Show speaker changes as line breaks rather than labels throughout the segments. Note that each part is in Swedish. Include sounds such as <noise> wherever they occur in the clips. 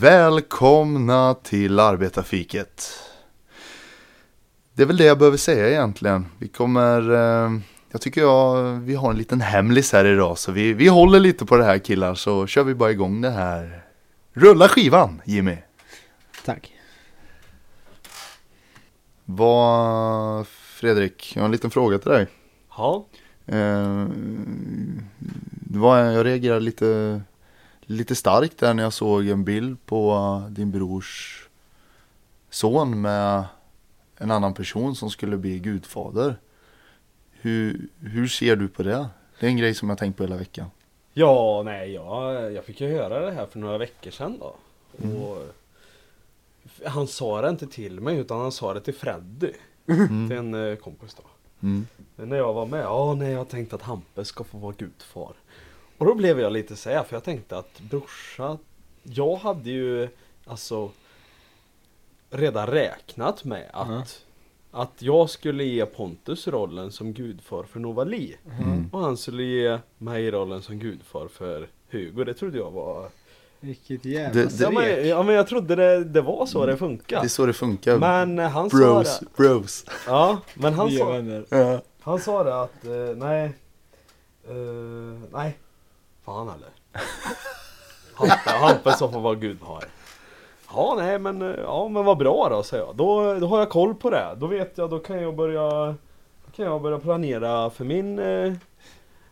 Välkomna till arbetarfiket. Det är väl det jag behöver säga egentligen. Vi kommer, eh, jag tycker jag, vi har en liten hemlis här idag så vi, vi håller lite på det här killar så kör vi bara igång det här. Rulla skivan Jimmy!
Tack.
Vad, Fredrik, jag har en liten fråga till dig.
Ja,
Eh, det var, jag reagerade lite, lite starkt där när jag såg en bild på eh, din brors son med en annan person som skulle bli gudfader. Hur, hur ser du på det? Det är en grej som jag har tänkt på hela veckan.
ja nej, jag, jag fick ju höra det här för några veckor sedan då. Och han sa det inte till mig utan han sa det till Freddy. Till en eh, kompis då.
Mm.
När jag var med, ja nej jag tänkte att Hampus ska få vara gudfar. Och då blev jag lite såhär för jag tänkte att brorsa, jag hade ju alltså redan räknat med att
Mm.
Mhm.
Att jag skulle ge Pontus rollen som gudfar för Novali
Mm.
Och han skulle ge mig rollen som gudfar för Hugo, det trodde jag var...
Vilket jävla
Det- det-
Ja men, ja, men jag trodde det, det var så det
Mm. Det
funkar.
är så det funkar.
Men eh, han
bros,
sa det.
bros.
Ja, men han
Vi är
sa,
vänner.
Ja.
han sa det att eh, nej... eh, nej. Fan <laughs> heller. Hampe- Hampe som får vara gudfar. Ja, nej men, eh, ja, men vad bra då säger jag. Då, då har jag koll på det. Då vet jag, då kan jag börja, då kan jag börja planera för min, eh,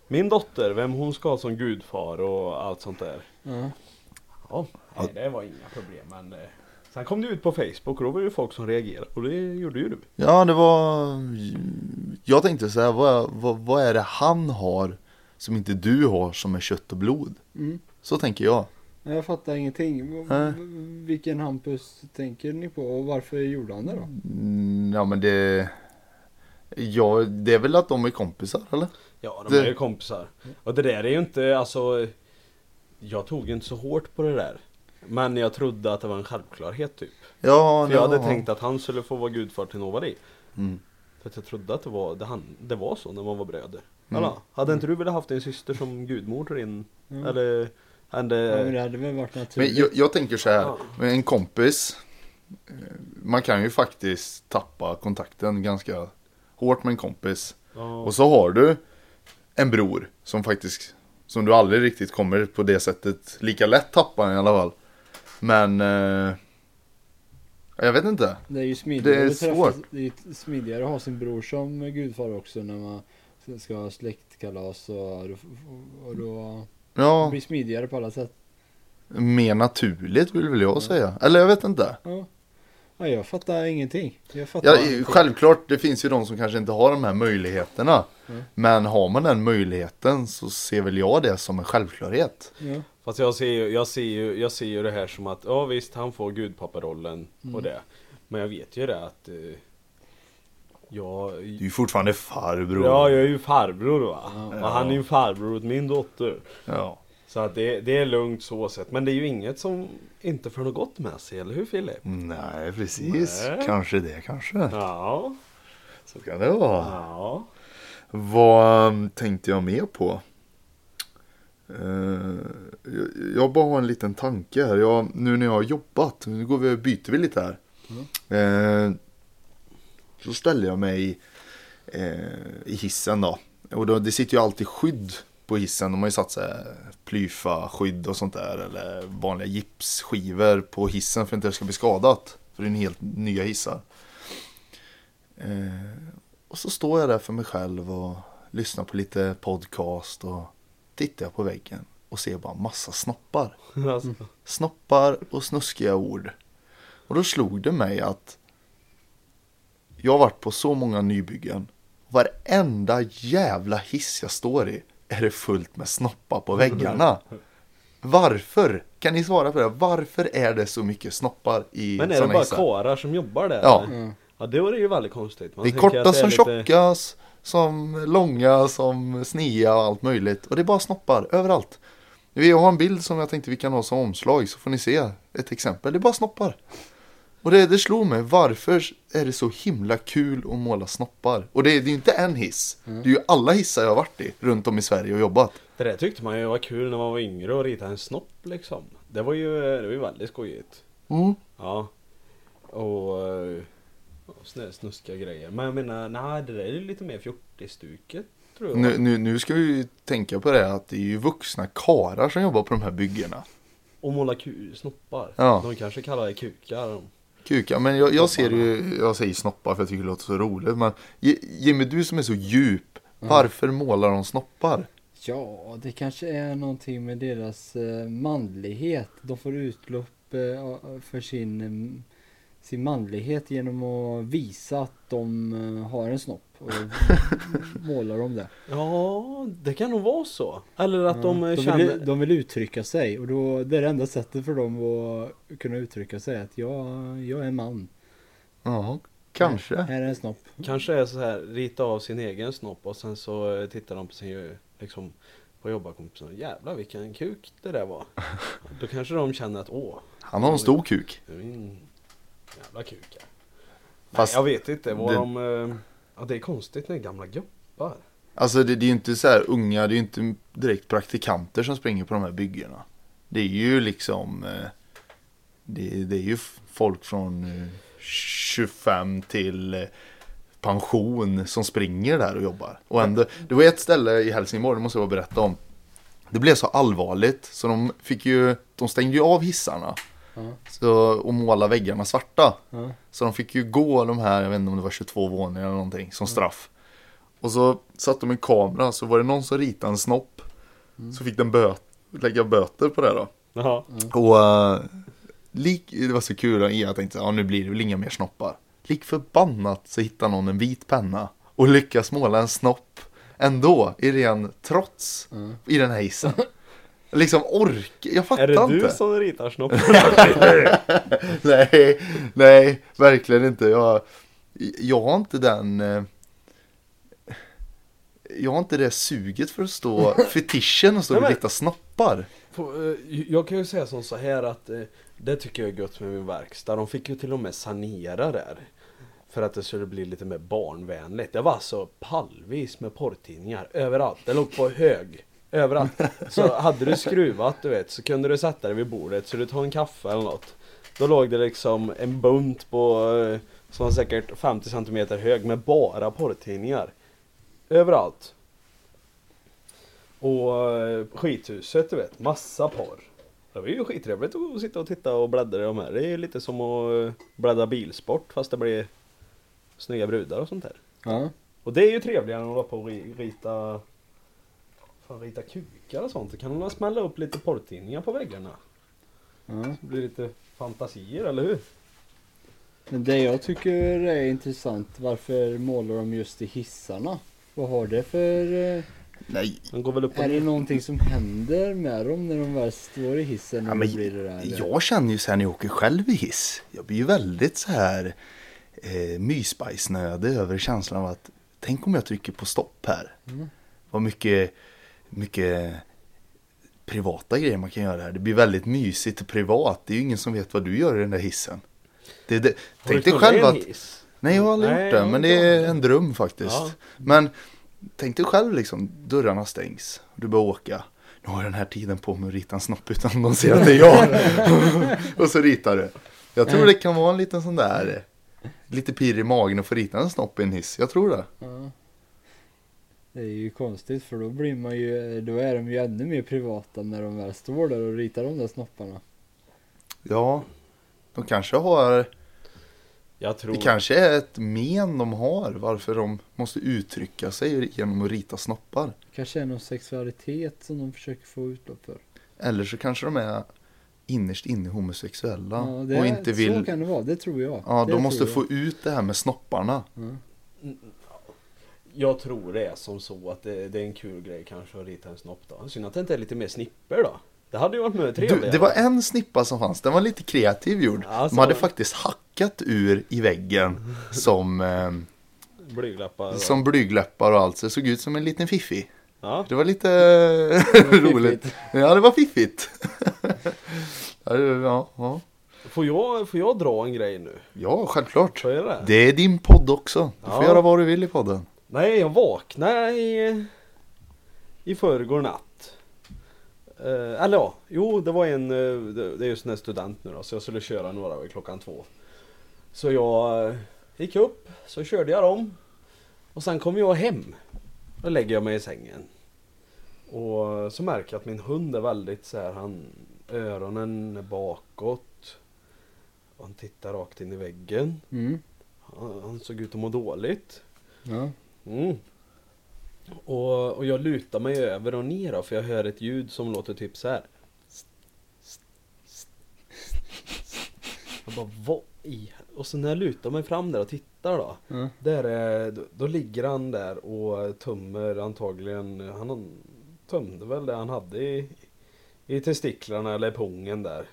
min dotter, vem hon ska ha som gudfar och allt sånt där.
Ja.
Ja, nej, det var inga problem men eh, Sen kom du ut på Facebook och då var det ju folk som reagerade och det gjorde ju du.
Ja, det var... Jag tänkte så här, vad, vad, vad är det han har som inte du har som är kött och blod?
Mm.
Så tänker jag.
Nej, Jag fattar ingenting. V-
Nej.
v- Vilken Hampus tänker ni på och varför gjorde han det då?
Mm, Ja, men det... Ja, det är väl att de är kompisar, eller?
Ja, de
Det-
är ju kompisar. Och det där är ju inte, alltså Jag tog ju inte så hårt på det där. Men jag trodde att det var en självklarhet typ.
Ja,
För jag hade
ja.
tänkt att han skulle få vara gudfar till Novali.
Mm.
För att jag trodde att det var, det, han, det var så när man var bröder.
Mm.
Alla, hade inte du velat haft din syster som gudmor till din,
Mm.
eller?
Ja, men
Hade,
det hade väl varit
Men
naturligt.
jag, jag tänker så här,
Ja.
med en kompis. eh, Man kan ju faktiskt tappa kontakten ganska hårt med en kompis.
ja,
Och så har du en bror som faktiskt, som du aldrig riktigt kommer på det sättet lika lätt tappa i alla fall. Men, eh, jag vet inte.
Det är ju smidigare,
Det är
att träffa-
svårt.
det är ju smidigare att ha sin bror som gudfar också när man ska ha släktkalas och, då f- f- och då det
Ja,
blir smidigare på alla sätt.
mer naturligt vill väl jag säga. Eller jag vet inte.
Ja. Ja, jag fattar ingenting. Jag fattar
Ja,
ingenting.
självklart, det finns ju de som kanske inte har de här möjligheterna.
Mm.
Men har man den möjligheten så ser väl jag det som en självklarhet.
Ja.
Fast jag ser, ju, jag, ser ju, jag ser ju det här som att, ja visst han får gudpapparollen
Mm.
och det. Men jag vet ju det att eh, jag,
Du är ju fortfarande farbror.
ja, jag är ju farbror va.
Ja.
Och han är ju farbror åt min dotter.
Ja.
Så att det, det är lugnt så sett. Men det är ju inget som inte för något gott med sig, eller hur Filip?
Nej, precis.
Nej.
Kanske det, kanske.
Ja,
Så kan det vara.
ja.
Vad tänkte jag mer på? Eh, jag- jag bara har en liten tanke här. Jag, nu när jag har jobbat, nu går vi, byter vi lite här. Eh, så ställer jag mig eh, i hissen då. Och då, det sitter ju alltid skydd på hissen. De har ju satt så här plyfa-skydd och sånt där. Eller vanliga gipsskivor på hissen för att det inte ska bli skadat. För det är en helt nya hissar. Eh, och så står jag där för mig själv och lyssnar på lite podcast och tittar jag på väggen och ser bara massa snoppar.
<laughs> Alltså,
Snoppar och snuskiga ord. Och då slog det mig att jag har varit på så många nybyggen. Varenda jävla hiss jag står i är det fullt med snoppar på väggarna. Varför? Kan ni svara på det? Varför är det så mycket snoppar i
Men är det
Mm. såna
bara
hissar?
karlar som jobbar där?
Ja.
eller?
Ja.
ja det är ju väldigt konstigt. Man
Det är
tänker
korta
att det är
som
lite-
tjockas, som långa, som snea och allt möjligt. Och det är bara snoppar överallt. Vi har en bild som jag tänkte vi kan ha som omslag så får ni se ett exempel. Det är bara snoppar. Och det, det slog mig, varför är det så himla kul att måla snoppar? Och det, är- det är ju inte en hiss.
Mm.
Det är ju alla hissar jag har varit i runt om i Sverige och jobbat.
Det där tyckte man ju var kul när man var yngre och rita en snopp liksom. Det var ju, det var ju väldigt skojigt.
Mm.
Ja. Och, eh, ja, såna där snuskiga grejer. Men jag menar, nej det där är ju lite mer fjortisstuket tror jag.
Nu, nu, nu ska vi ju tänka på det att det är ju vuxna karar som jobbar på de här byggena.
Och måla ku- snoppar.
Ja.
De kanske kallar det kukar. de.
Kuka, men jag, jag ser ju, jag säger snoppar för jag tycker det låter så roligt. Men J- Jimmy, du som är så djup, varför målar de snoppar?
Ja, det kanske är någonting med deras eh, manlighet. De får utlopp eh, för sin, eh, sin manlighet genom att visa att de eh, har en snopp.
<laughs>
Och målar om det.
Ja, det kan nog vara så. Eller att
Mm.
de, eh,
de,
känner...
vill, de vill uttrycka sig och då, det är det enda sättet för dem att kunna uttrycka sig. Att jag, jag är man.
Ja, kanske.
Här är en snopp.
Kanske är så här, rita av sin egen snopp och sen så eh, tittar de på sin, liksom, på jobbarkompisen. Jävlar vilken kuk det
<laughs>
där var. Då kanske de känner att åh,
Han har en stor kuk.
det är min jävla kuka.
Fast-
Nej, jag vet inte vad
det-
de... eh, Ja, det är konstigt med gamla gubbar.
Alltså det, det är ju inte så här unga, det är ju inte direkt praktikanter som springer på de här byggena. Det är ju liksom, eh, det, det är ju f- folk från eh, 25 till eh, pension som springer där och jobbar. Och ändå, det var ett ställe i Helsingborg, det måste jag bara berätta om. Det blev så allvarligt så de fick ju, de stängde ju av hissarna.
Ja.
Så, och måla väggarna svarta.
Ja.
Så de fick ju gå de här, jag vet inte om det var 22 våningar eller någonting, som straff. Och så satte de en kamera, så var det någon som ritade en snopp. Så fick den bö- lägga böter på det då.
Ja.
Och eh, lik, det var så kul, att jag tänkte ja nu blir det väl inga mer snoppar. Lik förbannat så hittar någon en vit penna och lyckas måla en snopp ändå, i ren trots, i den här hissen. liksom ork, jag fattar
Är det
inte.
du som ritar snoppen?
<laughs> nej, nej, verkligen inte. Jag, jag har inte den... eh, Jag har inte det suget för att stå fetischen och stå
Nej,
och
men-
rita snoppar.
På, eh, Jag kan ju säga som så här att eh, det tycker jag är gött med min verkstad. De fick ju till och med sanera där. För att det skulle bli lite mer barnvänligt. Det var alltså pallvis med porrtidningar överallt. Det låg på hög. Överallt. Så hade du skruvat du vet så kunde du sätta dig vid bordet så du tog en kaffe eller något. Då låg det liksom en bunt på eh, som var säkert 50 cm hög med bara porrtidningar. Överallt. Och eh, skithuset du vet, massa porr. Det var ju skittrevligt att sitta och titta och bläddra i de här. Det är ju lite som att eh, bläddra bilsport fast det blir snygga brudar och sånt där.
Ja.
Och det är ju trevligare än att hålla på och ri- rita Fan rita kukar och sånt. Då kan man smälla upp lite porrtidningar på väggarna.
Ja.
Det blir lite fantasier, eller hur?
Men det jag tycker är intressant, varför målar de just i hissarna? Vad har det för... eh,
Nej,
De går väl upp och
Är det
ner.
någonting som händer med dem när de väl står i hissen?
ja,
Ja,
men
blir det där? eller?
jag känner ju så här när jag åker själv i hiss. Jag blir ju väldigt så här eh, mysbajsnödig över känslan av att tänk om jag trycker på stopp här.
Mm.
Vad mycket, mycket privata grejer man kan göra här. Det blir väldigt mysigt och privat. Det är ju ingen som vet vad du gör i den där hissen. Det, det,
Har du
tänk dig
knullat
själv
i en
att...
hiss?
Nej, jag har aldrig
Nej,
gjort det,
jag
men
har
det
inte
är
gjort det.
en dröm faktiskt.
Ja.
Men tänk dig själv liksom, dörrarna stängs, du börjar åka. Nu har jag den här tiden på mig att rita en snopp utan de ser att det är jag. <laughs> och så ritar du. Jag tror det kan vara en liten sån där, eh, lite pirr i magen att få rita en snopp i en hiss. Jag tror det.
Ja. Det är ju konstigt för då blir man ju, då är de ju ännu mer privata när de väl står där och ritar de där snopparna.
Ja, de kanske har,
Jag tror...
det kanske är ett men de har varför de måste uttrycka sig genom att rita snoppar.
Kanske är någon sexualitet som de försöker få utlopp för.
Eller så kanske de är innerst inne homosexuella
det,
och inte vill
Så kan det vara, det tror jag.
Ja,
det
de måste
tror jag.
få ut det här med snopparna.
Jag tror det är som så att det, det är en kul grej kanske att rita en snopp då. Synd att det inte är lite mer snipper då. Det hade ju varit mer
Du,
trevligt.
det var en snippa som fanns, den var lite kreativ gjord.
Ja, så
De hade
var det.
faktiskt hackat ur i väggen som, eh,
Blyglappar. och-
som blygläppar och allt, så det såg ut som en liten fiffi.
Ja.
Det var lite
fiffigt.
roligt. Ja, det var fiffigt. <laughs> ja, det- ja, ja.
Får, jag, får jag dra en grej nu?
ja, självklart.
Får jag det?
Det är din podd också. Du får
Ja.
göra vad du vill i podden.
Nej, jag vaknade i, i förrgår natt. Eh, eller ja, jo det var en, eh, det det är ju sån här student nu då, så jag skulle köra några vid klockan två. Så jag eh, gick upp, så körde jag dem. Och sen kom jag hem. Då lägger jag mig i sängen. Och så märker jag att min hund är väldigt så här, han, öronen är bakåt. Och han tittar rakt in i väggen.
Mm.
Han, han såg ut att må dåligt.
Ja.
Mm. Och, och jag lutar mig över och ner då, för jag hör ett ljud som låter typ så här. Jag bara, vad i hel-" Och så när jag lutar mig fram där och tittar då.
Ja.
Där är, då, då ligger han där och tömmer antagligen, han tömde väl det han hade i, i testiklarna eller i pungen där.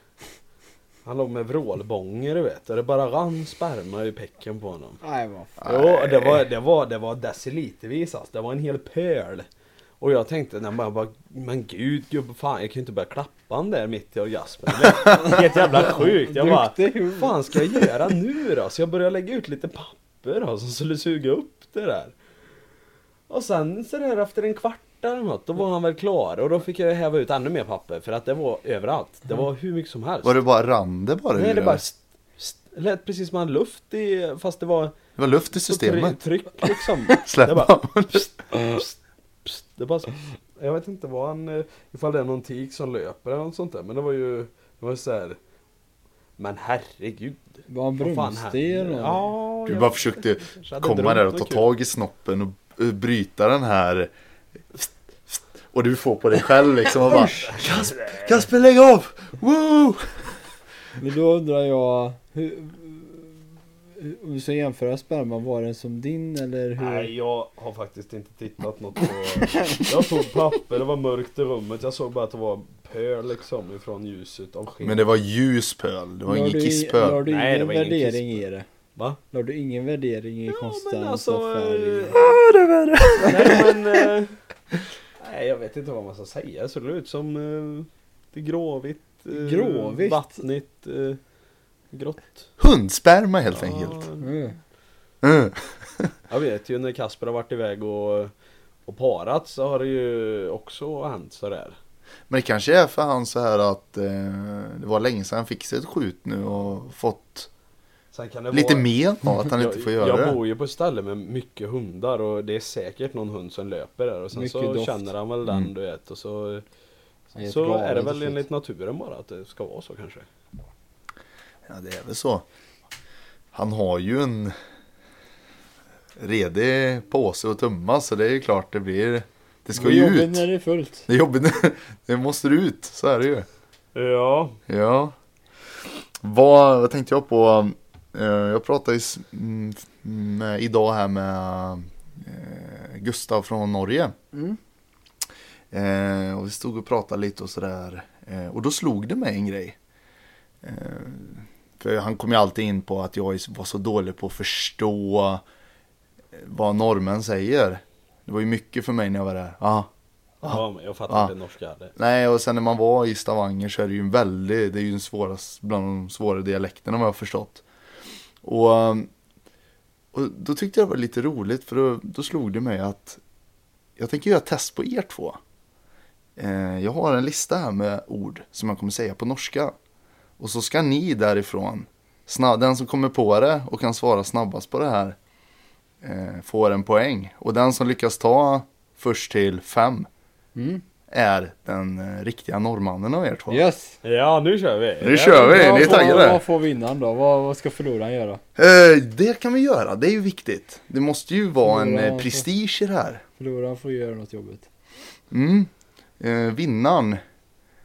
Han låg med vrålbånger du vet, och det bara rann sperma ur pecken på honom.
Nej, vad fan.
Jo, det var, det var, det var decilitervis alltså. Det var en hel pöl. Och jag tänkte, nej, men, bara, men gud gubbe, fan jag kan ju inte börja klappa han där mitt i och Jasper. Det är Helt
<laughs>
jävla sjukt. Jag bara,
Duktig hund.
fan ska jag göra nu då? Så jag började lägga ut lite papper då, som skulle suga upp det där. Och sen så där efter en kvart eller något, då var han väl klar och då fick jag häva ut ännu mer papper för att det var överallt. Det
Mm.
var hur mycket som helst.
Var det bara rann det bara?
Nej,
ur
det bara
det?
st- st- lät precis som han luft i, fast det var
det var luft i
så
systemet.
try- Tryck
<laughs>
liksom.
Släpp
Det bara,
honom.
pst, pst, pst. Det bara, så- jag vet inte vad han, eh, ifall det är någon tik som löper eller något sånt där. Men det var ju, det var ju så här. Men herregud.
Var han
vad fan
brunsten
händer?
eller?
Ja,
Du
jag-
bara försökte
hade
komma
drömt
där och ta
något kul.
tag i snoppen och eh, bryta den här och du får på dig själv liksom och bara Kasper, Kasper lägg av! Woo!
Men då undrar jag, hur, hur- om du ska jämföra sperman, var den som din eller hur?
Nej, jag har faktiskt inte tittat något på... Jag tog papper, det var mörkt i rummet. Jag såg bara att det var pöl liksom ifrån ljuset av skinn.
Men det var ljus pöl, det var
la
ingen
du, la
kisspöl.
du ingen
Nej, det var ingen
värdering i det?
Va?
La du ingen värdering i
Ja,
konstans
men alltså...
affär?
eh, Nej men...
<laughs>
eh, Nej jag vet inte vad man ska säga. Det såg ut som eh, det gråvitt. eh,
Gråvitt?
Vattnigt. eh, Grått.
Hundsperma helt enkelt.
Ja,
Mm.
Mm.
jag vet ju när Kasper har varit iväg och, och parat så har det ju också hänt sådär.
Men det kanske är för han så här att eh, det var länge sedan han fick sig ett skjut nu och fått
Sen kan det
lite
vara...
men av att han inte
<laughs>
får göra
jag,
det.
jag bor ju på ett ställe med mycket hundar och det är säkert någon hund som löper där och sen
Mycket
så
doft.
känner han väl den du vet och så,
Han är
så
helt galen
är det
till
väl
slut.
enligt naturen bara att det ska vara så kanske.
Ja, det är väl så. Han har ju en redig påse att tömma så det är ju klart det blir... Det ska
Vad
ju
jobbigt
ut.
när det är fullt.
Det är jobbigt. <laughs> Det måste ut, så är det ju.
Ja,
Ja. Vad, vad tänkte jag på? Eh, Jag pratade i s- mm, med, idag här med eh, Gustav från Norge.
Mm.
Eh, och vi stod och pratade lite och sådär. Eh, och då slog det mig en grej. Eh, för han kom ju alltid in på att jag är- var så dålig på att förstå eh, vad norrmän säger. Det var ju mycket för mig när jag var där. Ah,
ja men jag fattar
Ja.
inte norska. Det.
Nej, och sen när man var i Stavanger så är det ju en väldigt, det är ju den svåras, bland de svåra dialekterna om jag har förstått. Och, um, och då tyckte jag det var lite roligt för då, då slog det mig att jag tänker göra ett test på er två. Eh, jag har en lista här med ord som jag kommer säga på norska. Och så ska ni därifrån, snabb, den som kommer på det och kan svara snabbast på det här eh, får en poäng. Och den som lyckas ta först till fem
Mm.
är den eh, riktiga norrmannen av er två.
Yes!
Ja, nu kör vi!
Nu kör vi,
Vad
ni är
får-
taggade.
Vad får vinnaren då? Vad, vad ska förloraren göra?
Eh, det kan vi göra, det är ju viktigt. Det måste ju vara en eh, prestige i det här.
Förloraren får göra något jobbigt.
Mm. Eh, vinnaren,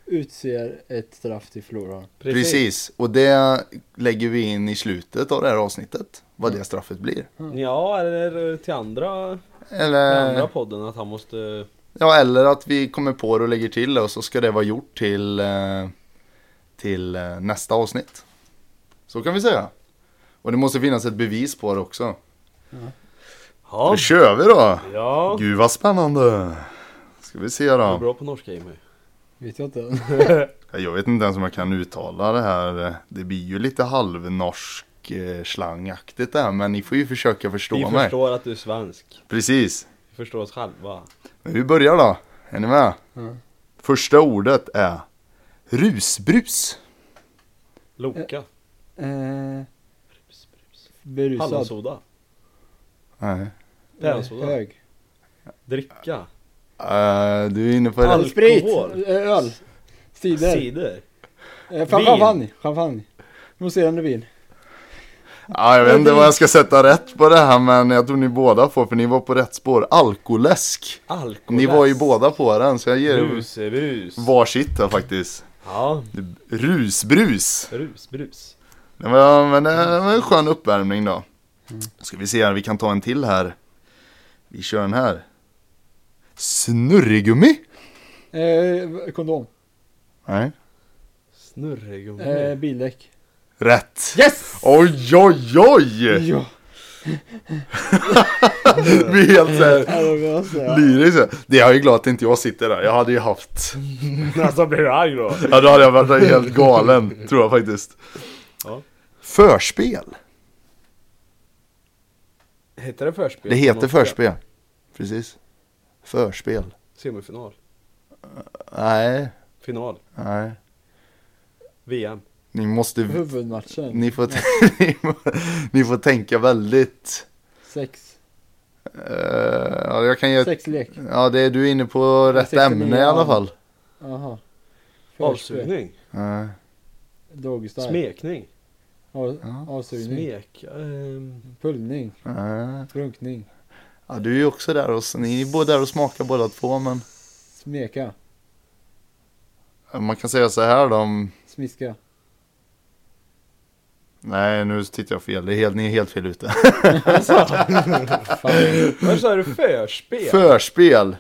Utser ett straff till förloraren.
precis. Och det lägger vi in i slutet av det här avsnittet. Vad det straffet blir.
Mm. Ja, eller till
Eh.
andra, till andra
Eller,
podden att han måste...
ja, eller att vi kommer på det och lägger till det och så ska det vara gjort till, eh, till eh, nästa avsnitt. Så kan vi säga. Och det måste finnas ett bevis på det också.
Ja,
Då kör vi då!
ja.
Gud vad spännande! Ska vi se
Du är
då.
bra på norska Jimmy.
Vet jag
<laughs>
inte.
Jag vet inte ens om jag kan uttala det här. Det blir ju lite halvnorsk eh, slangaktigt där. Men ni får ju försöka förstå
Vi
mig.
förstår att du är svensk.
Precis.
Vi förstår oss själva.
Men vi börjar då. Är ni med?
Mm.
Första ordet är rusbrus.
Loka.
Eh,
Eh,
berusad.
Hallonsoda.
Nej.
Päronsoda.
Hög.
Dricka.
Eh, du är inne på
Alkohol.
rätt.
Sprit. eh, Öl. Cider.
Cider.
Eh, fan-
Vin.
Champagne. Champagne. Mousserande vin.
Ja, jag vet inte vad jag ska sätta rätt på det här men jag tror ni båda får för ni var på rätt spår. Alkoläsk.
Alkohol.
Ni var ju båda på den så jag ger er
Brus är brus.
varsitt här faktiskt.
Ja,
Rusbrus.
brus, brus.
Det var, men det var en skön uppvärmning då. Ska vi se här, vi kan ta en till här. Vi kör den här. Snurrigummi?
Eh, kondom.
Nej.
Snurregummi.
Eh, bildäck.
Rätt.
Yes!
Oj, oj, oj!
Ja.
Det blir helt såhär
Här har vi oss, ja.
lyrisk. Det är jag ju glad att inte jag sitter där. Jag hade ju haft...
<laughs> Alltså blir du
<laughs>
arg då?
Ja, då hade jag varit helt galen, tror jag faktiskt.
Ja.
Förspel.
Heter det förspel?
Det
på
heter
norska?
förspel. Precis. Förspel.
Semifinal.
Nej,
Final.
nej.
VM.
Ni måste...
Huvudmatchen.
Ni får, <laughs> ni får tänka väldigt...
Sex.
Eh, ja, jag kan ge...
Sexlek.
Ja, det, du är inne på rätt
69,
ämne i alla
ja.
fall.
Jaha. Förspel.
Avsugning.
Nej.
Doggystyle.
Smekning.
Av,
Ja.
avsugning.
Smek. ehm,
Pullning.
nej.
Runkning.
Ja, du är ju också där och... Ni är båda där och smakar båda två, men...
Smeka.
Man kan säga så här då. om- <laughs>
Smiska.
Nej, nu tittar jag fel. Det är helt, ni är helt fel ute.
Fan.
Vad sa du? Förspel?
Förspel.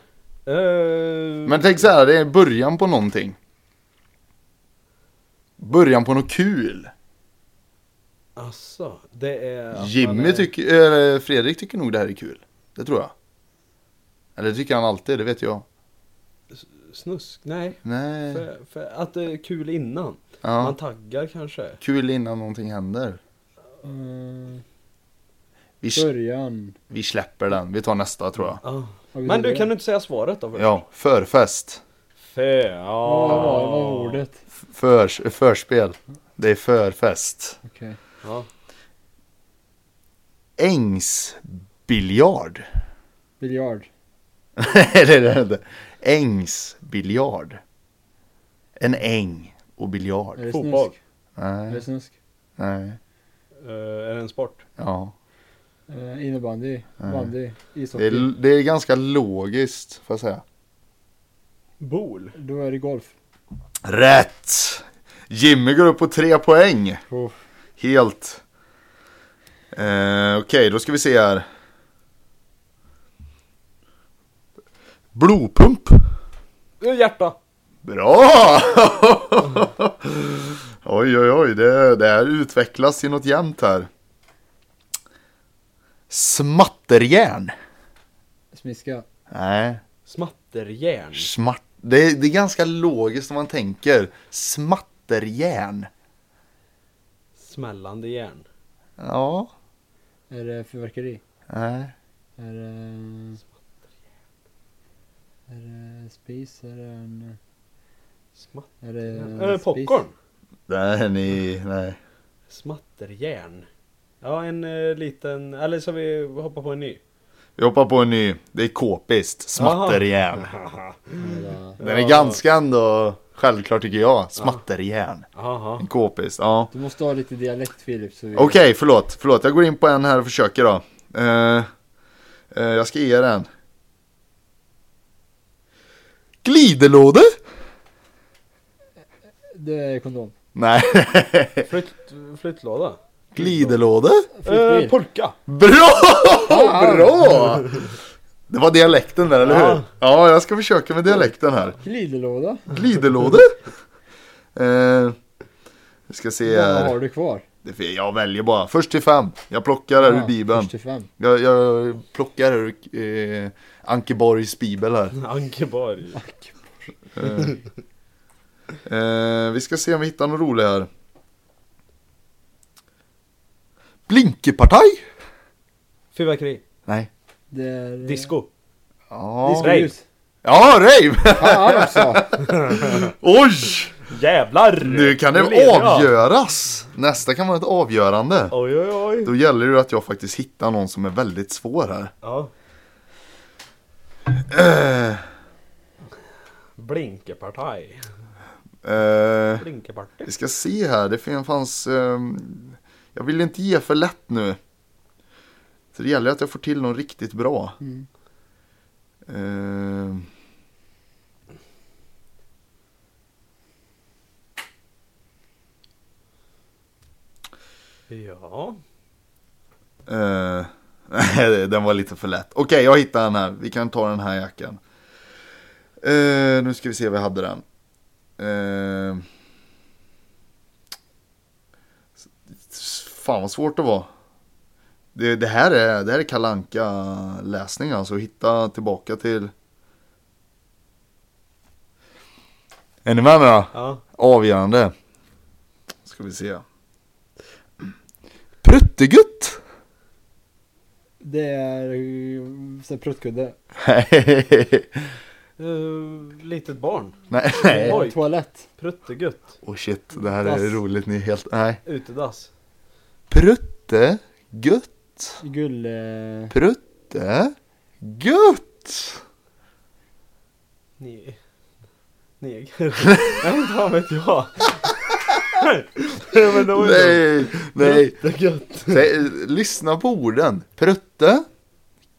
Ehm,
Men tänk så här, det är början på någonting. Början på något kul.
Alltså, det är... att man
Jimmy
är-
tycker, eller Fredrik tycker nog det här är kul. Det tror jag. Eller det tycker han alltid, det vet jag.
Snusk? Nej.
Nej.
För, för att det är kul innan. Man
Eh. Ja.
taggar kanske.
Kul innan någonting händer.
Mm,
Vi,
början.
vi släpper den, vi tar nästa tror jag.
Ja.
Har vi
Men du,
det?
kan du inte säga svaret då? först?
Ja, förfest.
Fä,
Vad
ja.
var, vad var ordet?
Förs, förspel. Det är förfest.
Okej.
Ja.
Ängsbiljard. <laughs>
Biljard.
Nej, det är det inte. Ängsbiljard. En äng och biljard.
Är det
Fotboll.
snusk? Är det
Nej,
snusk?
nej,
Eh, är det en sport?
ja.
Eh, innebandy. Bandy.
Det
Ishockey.
är, det är ganska logiskt, får jag säga.
Bol?
Då är det golf.
Rätt! Jimmy går upp på tre poäng.
Oh.
Helt. Eh, Okej, då ska vi se här. Blodpump.
Eh, Hjärta!
Bra! <laughs> oj, oj, oj. Det, det här utvecklas till något jämnt här. Smatterjärn.
Smiska.
Nej,
Smatterjärn?
smart. Det, är- det är ganska logiskt om man tänker. Smatterjärn.
Smällande järn?
Ja.
Är det fyrverkeri?
Nej.
Är det... Är det spis? Är det en...
Smatt...
Är det en
Eh, popcorn?
Nej, ni, nej.
Smatterjärn? Ja, en eh, liten... Eller så vi hoppar på en ny.
Vi hoppar på en ny. Det är kåpist. Smatterjärn.
Haha.
Eller,
Den är
Ja.
ganska ändå självklar tycker jag. Smatterjärn.
Jaha.
En kåpist, ja.
du måste ha lite dialekt Filip. så vi-
Okej, förlåt. Förlåt, jag går in på en här och försöker då. Eh, eh, jag ska ge er en. Glidelåda?
Det är kondom.
Nej. <laughs>
Flytt, flyttlåda?
Glidelåda?
Eh,
Eh,
Flyttbil.
polka!
Bra! Bra! Det var dialekten där, eller
Ja.
hur? Ja, jag ska försöka med dialekten här.
Glidelåda.
Glidelåda? Eh, vi ska se
Vad
här.
har du kvar?
Det är- Jag väljer bara. Först till fem. Jag plockar här ur
Ja,
Bibeln.
först till fem.
Jag, jag plockar ur eh, Ankeborgs Bibel här.
Ankeborg.
Eh, eh, vi ska se om vi hittar något roligt här. Blinkepartaj?
Fyrverkeri.
Nej.
Det är... eh,
Disco.
Ja,
Discoljus. <laughs>
ja rave!
Fan också!
Oj!
Jävlar!
Nu kan
Nu
det
lever jag.
avgöras! Nästa kan vara ett avgörande.
Oj, oj, oj.
Då gäller det ju att jag faktiskt hittar någon som är väldigt svår här.
Ja.
Eh,
Blinkepartaj.
eh,
Blinkeparti.
vi ska se här, det fin- fanns... ehm, jag vill inte ge för lätt nu. Så det gäller att jag får till någon riktigt bra.
Mm.
Ehm.
Ja.
Eh, <laughs> nej, den var lite för lätt. Okej, jag hittar den här. Vi kan ta den här jackan. Eh, nu ska vi se vad jag hade den. Eh, s- fan vad svårt det var. Det, det här är, det här är kalanka läsning alltså. Hitta tillbaka till... Är ni med mig då?
Ja.
Avgörande. Ska vi se. <clears throat> Pruttegutt!
Det är eh, så här pruttkudde.
Nej. <laughs>
Uh, litet barn.
Nej.
Oj.
Åh
Eh, Toalett.
Pruttegutt.
oh shit, det här är
Dass.
roligt. Ni är helt... Nej.
Utedass.
Prutte. Gutt.
Gull... eh,
Prutte. Gutt.
Ni... Neger. <laughs> Nej, men fan vet jag. <laughs> Nej, men det var ju
Nej, nej.
Pruttegött.
Säg- Lyssna på orden. Prutte.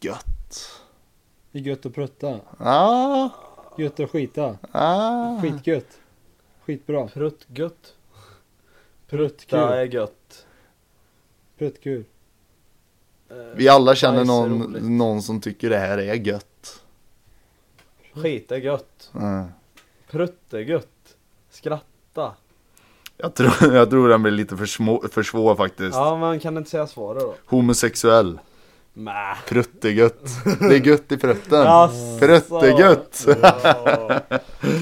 Gött.
Det är gött att prutta.
Ah,
Gött att skita.
ah.
Skitgött. Skitbra.
Pruttgött.
Pruttkul.
Det är gött.
Pruttkul.
Eh,
Vi alla känner
bajs är
någon,
roligt.
någon som tycker det här är gött.
Skit är gött.
Mm.
Pruttegött. Skratta.
Jag tror, jag tror den blir lite för, små, för svår faktiskt.
Ja, men kan inte säga svaret då?
Homosexuell. <laughs>
Mäh.
Pruttegött. Det är gött i prutten.
Jaså.
Pruttegött.
Ja,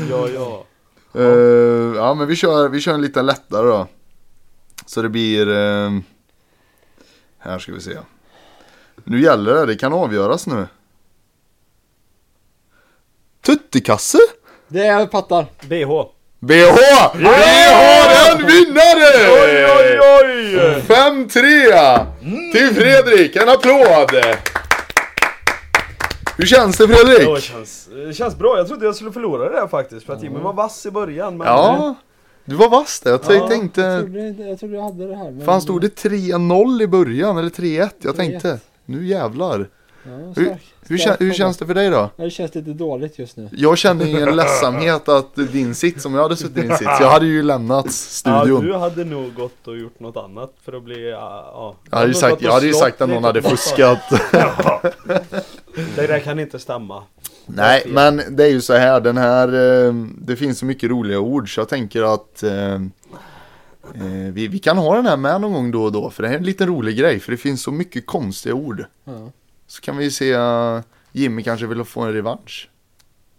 ja. ja.
Eh, ja men vi kör, vi kör en lite lättare då. Så det blir... eh, här ska vi se. Nu gäller det, det kan avgöras nu. Tuttikasse?
Det är pattar.
BH.
BH! Vi har en vinnare!
Oj, oj, oj! Mm.
5-3 till Fredrik, en applåd! Hur känns det Fredrik?
Det känns, det känns bra, jag trodde jag skulle förlora det här faktiskt för att Jimmy var vass i början men
Ja, du var vass där. Jag
Ja,
Jag
tänkte...
trodde, inte- jag trodde jag hade det här. Men
Fan, stod det 3-0 i början? Eller 3-1? Jag
3-1.
tänkte, nu jävlar.
Ja,
Hur-
stark,
Hur,
stark
kä- hur
kombo.
känns det för dig då?
Ja, Det känns lite dåligt just nu.
Jag känner ingen ledsamhet att din sits, om jag hade suttit i din sits, jag hade ju lämnat
ja,
studion.
du hade nog gått och gjort något annat för att bli, ja, ja.
Jag hade ju
nog
sagt,
gått och
jag hade ju
slått
sagt att
lite
någon hade
på
fuskat.
<laughs> pappa. Det där kan inte stämma.
Nej, men det är ju så här, den här, eh, det finns så mycket roliga ord så jag tänker att eh, eh, vi, vi kan ha den här med någon gång då och då, för det här är en liten rolig grej, för det finns så mycket konstiga ord.
Ja.
Så kan vi ju se, eh, Jimmy kanske vill få en revansch.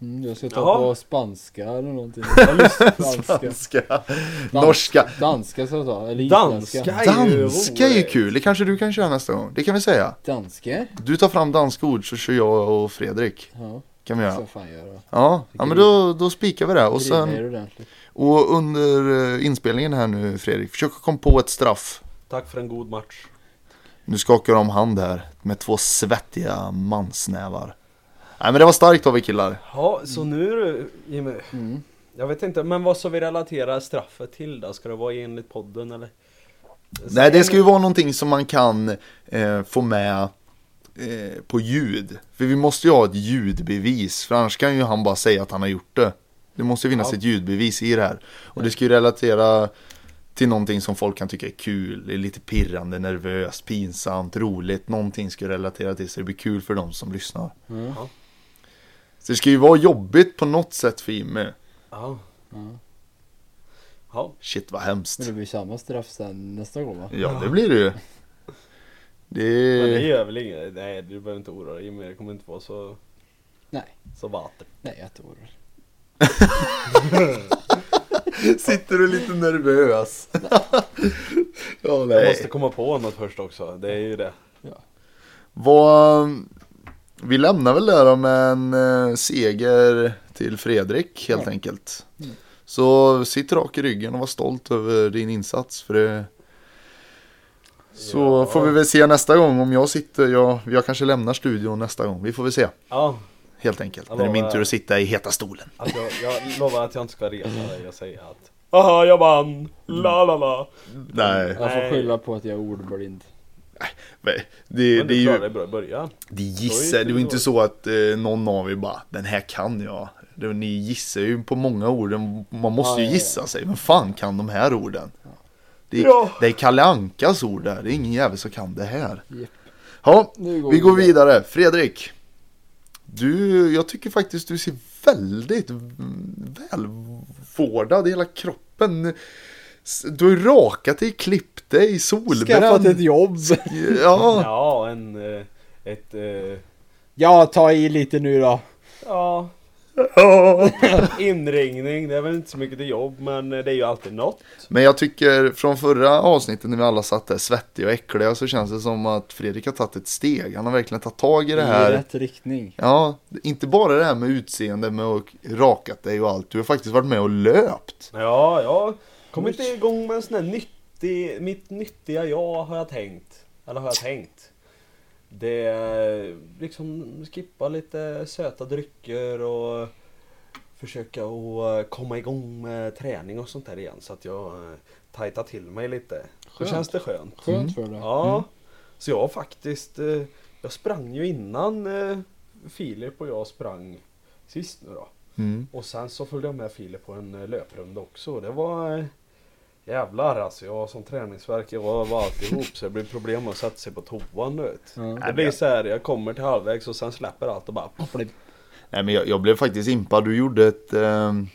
Mm, jag ska ta
Jaha.
på spanska eller någonting.
<laughs>
Danska.
<laughs>
Spanska. Norska.
Danska ska jag ta. Eller
Danska
isländska.
är ju
Danska är ju
roligt.
kul, det kanske du kan köra nästa gång. Det kan vi säga.
Danska?
Du tar fram danska ord så kör jag och Fredrik.
Ja,
Kan vi
det ska
göra.
jag fan göra.
Ja, ja men då, då spikar vi det. Och,
Driva
sen,
er ordentligt.
och under eh, inspelningen här nu Fredrik, försök att komma på ett straff.
Tack för en god match.
Nu skakar de hand här med två svettiga mansnävar. Nej men det var starkt av er killar.
Ja, så nu du Jimmy.
Mm.
Jag vet inte, men vad ska vi relatera straffet till då? Ska det vara enligt podden eller?
Nej det ska ju vara någonting som man kan eh, få med eh, på ljud. För vi måste ju ha ett ljudbevis. För annars kan ju han bara säga att han har gjort det. Det måste ju finnas
Ja.
ett ljudbevis i det här. Och det ska ju relatera till någonting som folk kan tycka är kul. Det är lite pirrande, nervöst, pinsamt, roligt. Någonting ska ju relatera till så det blir kul för de som lyssnar.
Mm.
Ja.
Så det ska ju vara jobbigt på något sätt för Jimmy.
Ja.
Ja.
Ja.
Shit vad hemskt.
Mm.
Men det blir samma straff sen nästa gång va?
Ja det blir det ju.
Men det
Det...
gör väl inget. Nej, du behöver inte oroa dig Jimmy. Det kommer inte vara så,
Nej,
så vatten.
nej jag tror det.
Sitter du lite nervös? <laughs> ja,
Jag
nej.
måste komma på något först också. Det är ju det.
Vad... Vi lämnar väl där då med en eh, seger till till Fredrik helt enkelt.
Mm.
Så sitt rak i ryggen och var stolt över din insats. För det... Så
Ja.
får vi väl se nästa gång om jag sitter. Jag, jag kanske lämnar studion nästa gång. Vi får väl se
Ja,
helt enkelt.
Ja,
När det är min
vad-
tur att sitta i heta stolen.
att jag, jag lovar att jag inte ska resa dig och säga att Haha, jag
Mm.
vann! La la la!
Nej,
Jag får
Nej.
skylla på att jag är ordblind.
men det,
Men
det är
du
ju
klarade dig bra i början.
Det
Det var
gissar,
ju
det var
inte
inte så att eh, någon av er bara Den här kan jag det, var- Ni gissar ju på många ord Man måste
Ja, ja,
ju
ja.
gissa sig Men fan kan de här orden? Det är,
Ja.
det är Kalle Ankas ord där Det är ingen jävel som kan det här
Japp.
Ja,
Nu går
vi
vi
går vidare Fredrik Du, jag tycker faktiskt du ser väldigt mm, välvårdad i hela kroppen S- Du har ju rakat dig, klippt dig, solbränd
Skaffat ett jobb.
Ja,
Ja, en... eh, Ett... eh,
Ja, ta i lite nu då.
Ja,
ja.
<laughs> inringning. Det är väl inte så mycket till jobb, men eh, det är ju alltid något.
Men jag tycker från förra avsnittet när vi alla satt där svettiga och äckliga så känns det som att Fredrik har tagit ett steg. Han har verkligen tagit tag i det
I
här.
rätt riktning.
Ja, inte bara det här med utseende med och rakat dig och allt. Du har faktiskt varit med och löpt.
Ja, jag kom inte igång med en sån här nyttig, mitt nyttiga jag har jag tänkt. Eller har jag tänkt. Det är liksom skippa lite söta drycker och försöka att komma igång med träning och sånt där igen så att jag eh, tajtar till mig lite. Då
Skönt.
känns det skönt.
Skönt
Mm.
för dig.
Ja, så jag har faktiskt, eh, jag sprang ju innan eh, Filip och jag sprang sist nu då.
Mm.
Och sen så följde jag med Filip på en eh, löprunda också. Det var eh, jävlar alltså. Jag som träningsvärk, jag var var alltihop så det blir problem att sätta sig på toan du vet.
Ja.
Det blir så här, jag kommer till halvvägs och sen släpper allt och bara
Nej, men jag, jag blev faktiskt impad. Du gjorde ett... ehm,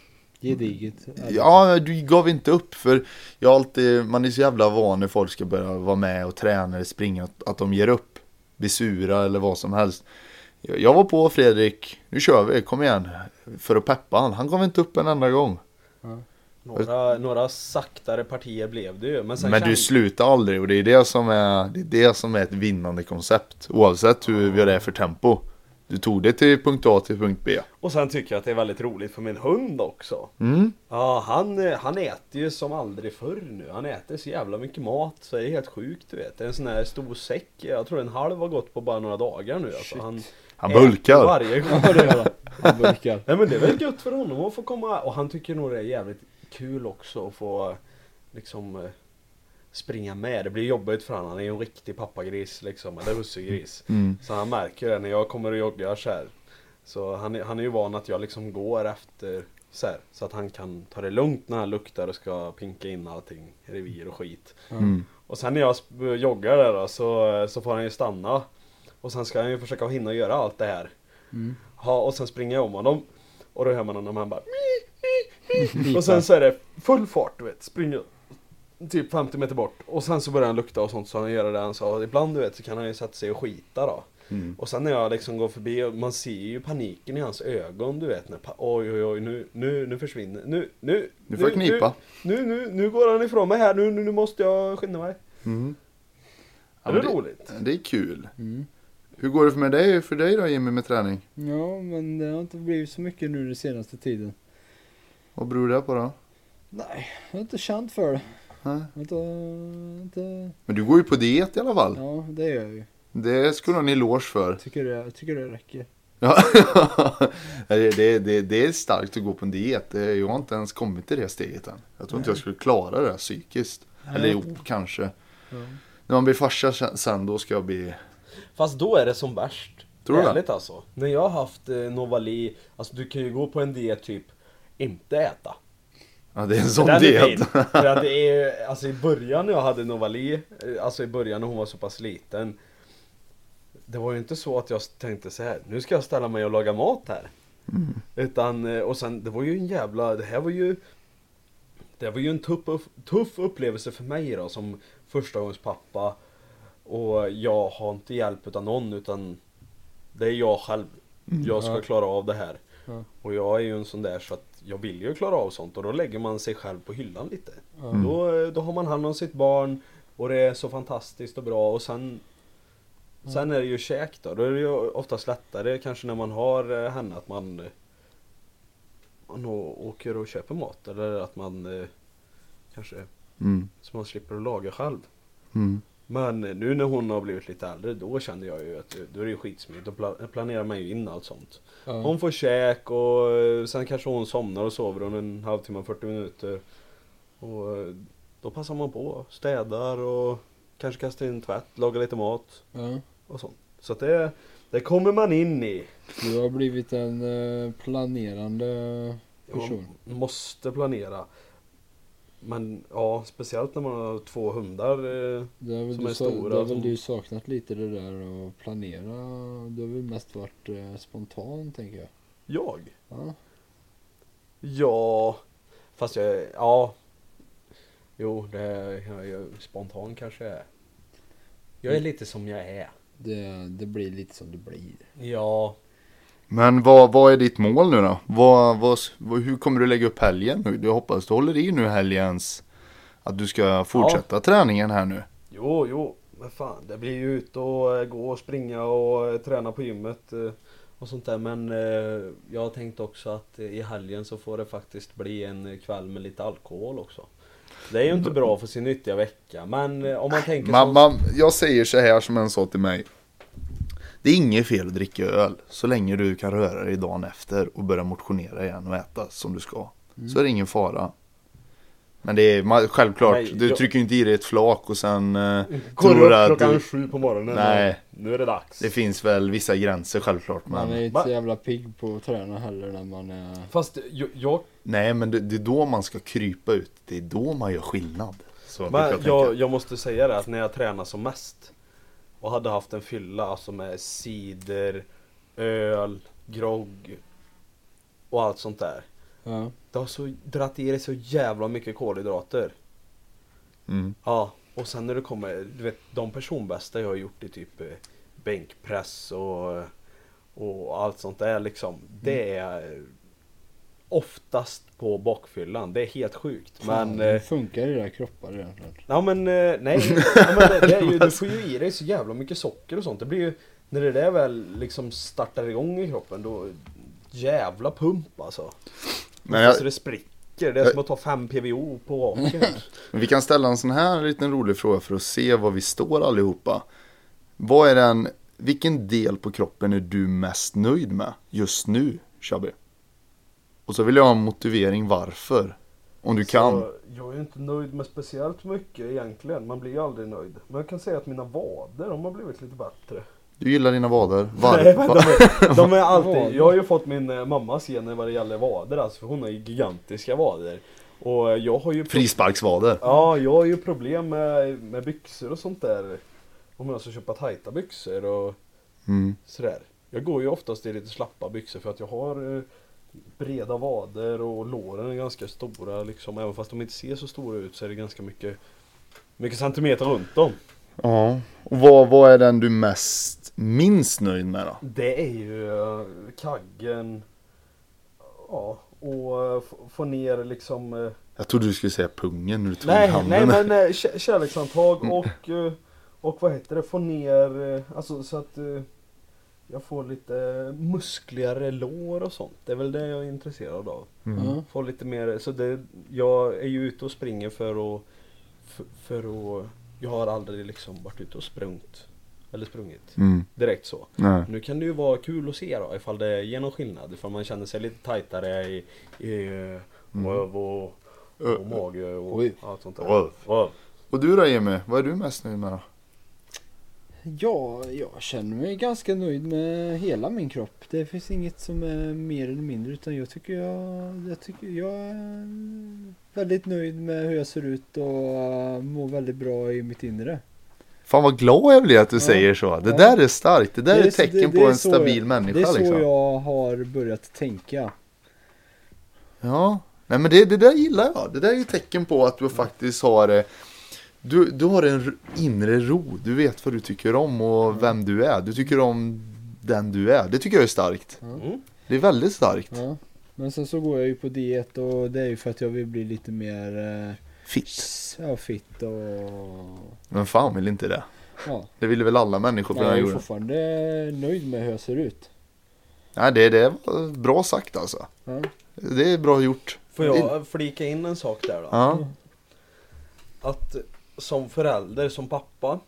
Gediget.
Ja, du gav inte upp för jag har alltid, man är så jävla van när folk ska börja vara med och träna eller springa att- att de ger upp. Blir sura eller vad som helst. Jag jag var på Fredrik, nu kör vi, kom igen. För att peppa han, han gav inte upp en enda gång.
några, några saktare partier blev det ju. Men sen
Men du
kände-
slutar aldrig och det är det som är, det är, det som är ett vinnande koncept. Oavsett hur vi är för tempo. Du tog det till punkt A till punkt B.
Och sen tycker jag att det är väldigt roligt för min hund också.
Mm.
Ja, han, eh, han äter ju som aldrig förr nu. Han äter så jävla mycket mat så det är helt sjukt du vet. Det är En sån här stor säck, jag tror en halv har gått på bara några dagar nu. Alltså,
Shit.
han
Han
äter
bulkar.
Varje gång.
Ja, det gör han. Han burkar.
Nej men det är väl gött för honom att få komma och han tycker nog det är jävligt kul också att få liksom eh, springa med. Det blir jobbigt för honom, han är ju en riktig pappagris liksom, eller hussegris.
Mm.
Så han märker det när jag kommer och joggar så här. Så han, är- han är ju van att jag liksom går efter så här, så att han kan ta det lugnt när han luktar och ska pinka in allting, revir och skit.
Mm.
Och sen när jag sp- joggar där då, så, så får han ju stanna. Och sen ska han ju försöka hinna göra allt det här.
Mm.
Ja, och sen springer jag om honom. Och då hör man honom, han bara
<laughs>
Pipa.
Och sen så är det full fart, du vet. Springer typ 50 meter bort. Och sen så börjar han lukta och sånt, så han gör det han sa. Ibland du vet så kan han ju sätta sig och skita då.
Mm.
Och sen när jag liksom går förbi, och man ser ju paniken i hans ögon, du vet. När pa- oj, oj, oj, nu, nu, nu försvinner, nu, nu.
Nu får jag knipa.
Nu, nu, nu går han ifrån mig här, nu, nu, nu måste jag skynda mig.
Mm. Ja,
Är
men
det roligt?
Det är kul.
Mm.
Hur går det för, med dig, för dig då Jimmy med träning?
Ja, men det har inte blivit så mycket nu den senaste tiden.
Vad beror det på då?
Nej, jag har inte känt för det.
Nej.
Jag har Inte, inte,
Men du går ju på diet i alla fall.
ja, det gör jag ju.
Det skulle du ha en eloge för.
<laughs> Jag tycker det, jag tycker det räcker.
Ja. det, det, det, det är starkt att gå på en diet. Det- Jag har inte ens kommit till det steget än. Jag tror inte jag skulle klara det här psykiskt. Eller jo, kanske.
Ja.
När man blir farsa sen- sen, då ska jag bli...
Fast då är det som värst.
Tror du det?
Ärligt alltså. När jag har haft eh, Novali, alltså du kan ju gå på en diet typ, inte äta.
Ja, det är en sån
Den är
diet.
fin. För att det är, alltså i början när jag hade Novali, eh, alltså i början när hon var så pass liten. Det var ju inte så att jag tänkte så här, nu ska jag ställa mig och laga mat här.
Mm.
Utan, eh, och sen det var ju en jävla, det här var ju Det var ju en tuff, upp- tuff upplevelse för mig då som förstagångspappa Och jag har inte hjälp av någon utan Det är jag själv
Mm.
Jag ska
Ja.
klara av det här
Ja.
Och jag är ju en sån där så att jag vill ju klara av sånt och då lägger man sig själv på hyllan lite
Ja.
då, eh, då har man hand om sitt barn och det är så fantastiskt och bra och sen Sen är det ju käk då, då är det ju oftast lättare kanske när man har eh, henne att man eh, man å- åker och köper mat eller att man eh, kanske
<laughs> Mm.
så man slipper att laga själv.
Mm.
Men nu när hon har blivit lite äldre då känner jag ju att då är det ju skitsmidigt. Då pla- planerar man ju in allt sånt. Hon får käk och eh, sen kanske hon somnar och sover under en halvtimme, 40 minuter. Och eh, då passar man på, städar och kanske kastar in tvätt, lagar lite mat
Ja.
och sånt. Så att det, det kommer man in i.
Du har blivit en eh, planerande person.
Man måste planera. Men ja, speciellt när man har två hundar. eh,
Det har väl,
Som
du,
är
sa-
stora
det har
som-
väl du saknat lite det där att planera. Du har väl mest varit eh, spontan tänker jag.
Jag?
Ja.
Ja, fast jag, ja. Jo, det är jag, spontan kanske jag är. Jag är lite som jag är.
Det, det blir lite som det blir.
Ja,
Men vad, vad är ditt mål nu då? Vad, vad, vad, hur kommer du lägga upp helgen? nu? Jag hoppas du håller i nu helgens. Att du ska fortsätta träningen här nu.
jo, jo, men fan det blir ju ut och eh, gå och springa och eh, träna på gymmet eh, och sånt där. Men eh, jag har tänkt också att eh, i helgen så får det faktiskt bli en eh, kväll med lite alkohol också. Det är ju inte bra för sin nyttiga vecka, men eh, om man tänker
Mamma, jag säger så här som en sa till mig. Det är inget fel att dricka öl så länge du kan röra dig dagen efter och börja motionera igen och äta som du ska.
Mm.
Så är det ingen fara. Men det är man, självklart,
Nej,
du
jag-
trycker ju inte i dig ett flak och sen eh,
Går
tror
upp
att
klockan
du,
sju på morgonen.
Nej.
Nu är det dags.
det finns väl vissa gränser självklart.
Man är
Men,
ju inte så
Va?
jävla pigg på att träna heller när man är...
Fast jag, jag,
nej men det, det är då man ska krypa ut. Det är då man gör skillnad. Så brukar
men
tänka.
jag, jag måste säga det att när jag tränade som mest och hade haft en fylla alltså med cider, öl, grogg och allt sånt där.
Ja.
Det har så dratt i dig så jävla mycket kolhydrater.
Mm.
Ja, och sen när du kommer, du vet de personbästa jag har gjort i typ eh, bänkpress och, och allt sånt där liksom. Det är eh, oftast på bakfyllan. Det är helt sjukt.
Fan,
Men
hur
eh,
funkar i era kroppar egentligen?
Ja men eh, nej, ja, men det, det är ju, du får ju i dig så jävla mycket socker och sånt. Det blir ju, när det där väl liksom startar igång i kroppen då jävla pump alltså.
Men
jag,
jag,
så det spricker. Det är som att ta 5 PVO på raken.
Men Vi kan ställa en sån här liten rolig fråga för att se var vi står allihopa. Vad är den, vilken del på kroppen är du mest nöjd med just nu, Shabby? Och så vill jag ha en motivering varför. Om du kan.
Så jag är ju inte nöjd med speciellt mycket egentligen. Man blir ju aldrig nöjd. Men jag kan säga att mina vader de har blivit lite bättre.
Du gillar dina vader. Var,
<laughs> Nej, men de,
va,
är, de är
Vader.
alltid, jag har ju fått min eh, mammas gener vad det gäller vader alltså. För hon har ju gigantiska vader. Och eh, jag har ju
frisparksvader.
Ja, jag har ju problem med, med byxor och sånt där. Om jag ska köpa tajta byxor och
Mm.
sådär. Jag går ju oftast i lite slappa byxor för att jag har eh, breda vader och låren är ganska stora liksom. Även fast de inte ser så stora ut så är det ganska mycket, mycket centimeter runt dem.
Ja. Och vad, vad är den du mest, minst nöjd med då?
Det är ju eh, kaggen. Ja, och eh, f- få ner liksom eh,
Jag trodde du skulle säga pungen när du tog
Nej,
handen.
nej men eh, <laughs> kä- kärlekshandtag och, eh, och vad heter det, få ner, eh, alltså så att eh, jag får lite muskligare lår och sånt. Det är väl det jag är intresserad av.
Mm.
Ja.
Få lite mer, så det, jag är ju ute och springer för att, för, för att, jag har aldrig liksom varit ute och sprungit. Eller sprungit.
Mm.
Direkt så.
Nej.
Nu kan det ju vara kul att se då ifall det ger någon skillnad. Ifall man känner sig lite tajtare i, i eh, röv och, och mage och
Oj.
allt sånt där.
Mm. Röv.
Röv.
Och du då Jimmy, vad är du mest nöjd med då?
Ja, jag känner mig ganska nöjd med hela min kropp. Det finns inget som är mer eller mindre utan jag tycker jag, jag, tycker jag är väldigt nöjd med hur jag ser ut och äh, mår väldigt bra i mitt inre.
Fan vad glad jag blir att du
Ja.
säger så. Det
Ja.
där är starkt. Det där är ett
så-
tecken
det
på
är
en
så-
stabil människa
Det är så
liksom.
jag har börjat tänka.
Ja. Nej men det, det där gillar jag. Det där är ju tecken på att du faktiskt har eh, du, du har en r- inre ro. Du vet vad du tycker om och vem du är. Du tycker om den du är. Det tycker jag är starkt.
Mm.
Det är väldigt starkt.
Ja. Men sen så går jag ju på diet och det är ju för att jag vill bli lite mer äh,
Fitt.
ja, fit och
Men fan vill inte det.
ja.
Det ville väl alla människor på den
Men jag
här
är ju
jorden.
fortfarande nöjd med hur jag ser ut.
Nej det, det var bra sagt alltså.
Ja.
Det är bra gjort.
Får jag flika in en sak där då?
Ja.
Att som förälder, som pappa,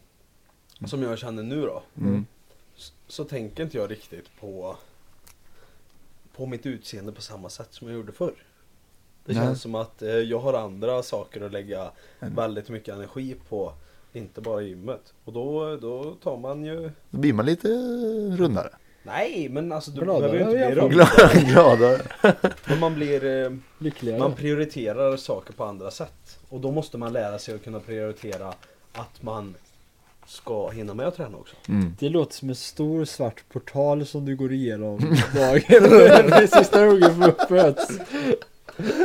som jag känner nu då.
Mm.
s- Så tänker inte jag riktigt på på mitt utseende på samma sätt som jag gjorde förr. Det
Nej.
känns som att eh, jag har andra saker att lägga väldigt mycket energi på. Inte bara gymmet. Och då, då tar man ju...
Då blir man lite rundare.
Nej men alltså du
Gladare
behöver ju inte
i alla
bli
fall.
rund.
Glad- <laughs> Gladare.
Men man blir... Eh,
Lyckligare.
Man prioriterar saker på andra sätt. Och då måste man lära sig att kunna prioritera att man ska hinna med att träna också.
Mm.
Det låter som en stor svart portal som du
<laughs>
går igenom dagen. Det är sista ungen får föds.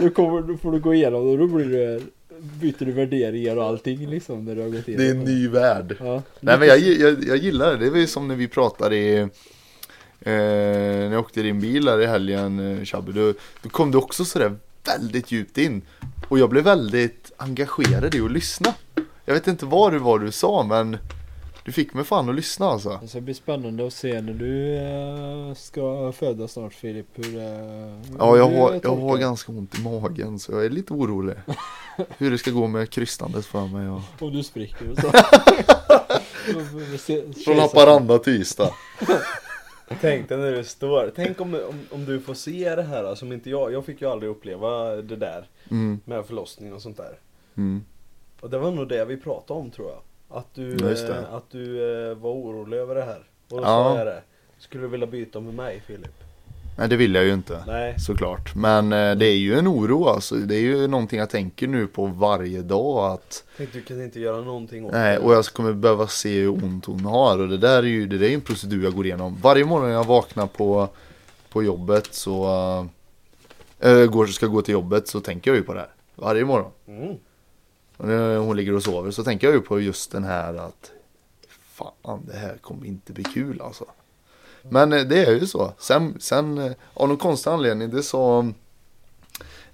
Då, kommer, då får du gå igenom och då blir du, byter du värderingar och allting liksom när du har gått igenom.
Det är en ny värld.
Ja.
Nej men jag, jag, jag gillar det. Det var ju som när vi pratade i... Eh, när jag åkte i din bil här i helgen eh, Shabbe. Då, då kom du också sådär väldigt djupt in. Och jag blev väldigt engagerad i att lyssna. Jag vet inte vad det var du sa men du fick mig fan att lyssna alltså.
Alltså, det blir spännande att se när du eh, ska födas snart Filip. Hur, eh,
Ja,
hur
jag
du
har, jag
tolkar.
har ganska ont i magen så jag är lite <laughs> orolig. Hur det ska gå med krystandet för mig. Och...
Om du
<laughs>
spricker och så.
Från Haparanda till Ystad.
Tänk dig när du står. Tänk om, om, om du får se det här då, som inte jag. Jag fick ju aldrig uppleva det där
Mm,
med förlossningen och sånt där.
mm.
Och det var nog det vi pratade om tror jag. Att du,
Ja, just det.
eh, att du eh, var orolig över det här. Och
Ja.
då sa jag det. Skulle du vilja byta med mig Filip?
Nej det vill jag ju inte.
Nej.
Såklart, men eh, det är ju en oro alltså. Det är ju någonting jag tänker nu på varje dag att
Tänk du kan inte göra någonting åt
nej,
det.
och jag kommer behöva se hur ont hon har och det där är ju det där är ju en procedur jag går igenom. Varje morgon när jag vaknar på, på jobbet så eh, eh, går, ska gå till jobbet så tänker jag ju på det här. Varje morgon.
Mm.
Och när hon ligger och sover så tänker jag ju på just den här att fan det här kommer inte bli kul alltså. Men eh, det är ju så. Sen, sen eh, av någon konstig anledning det sa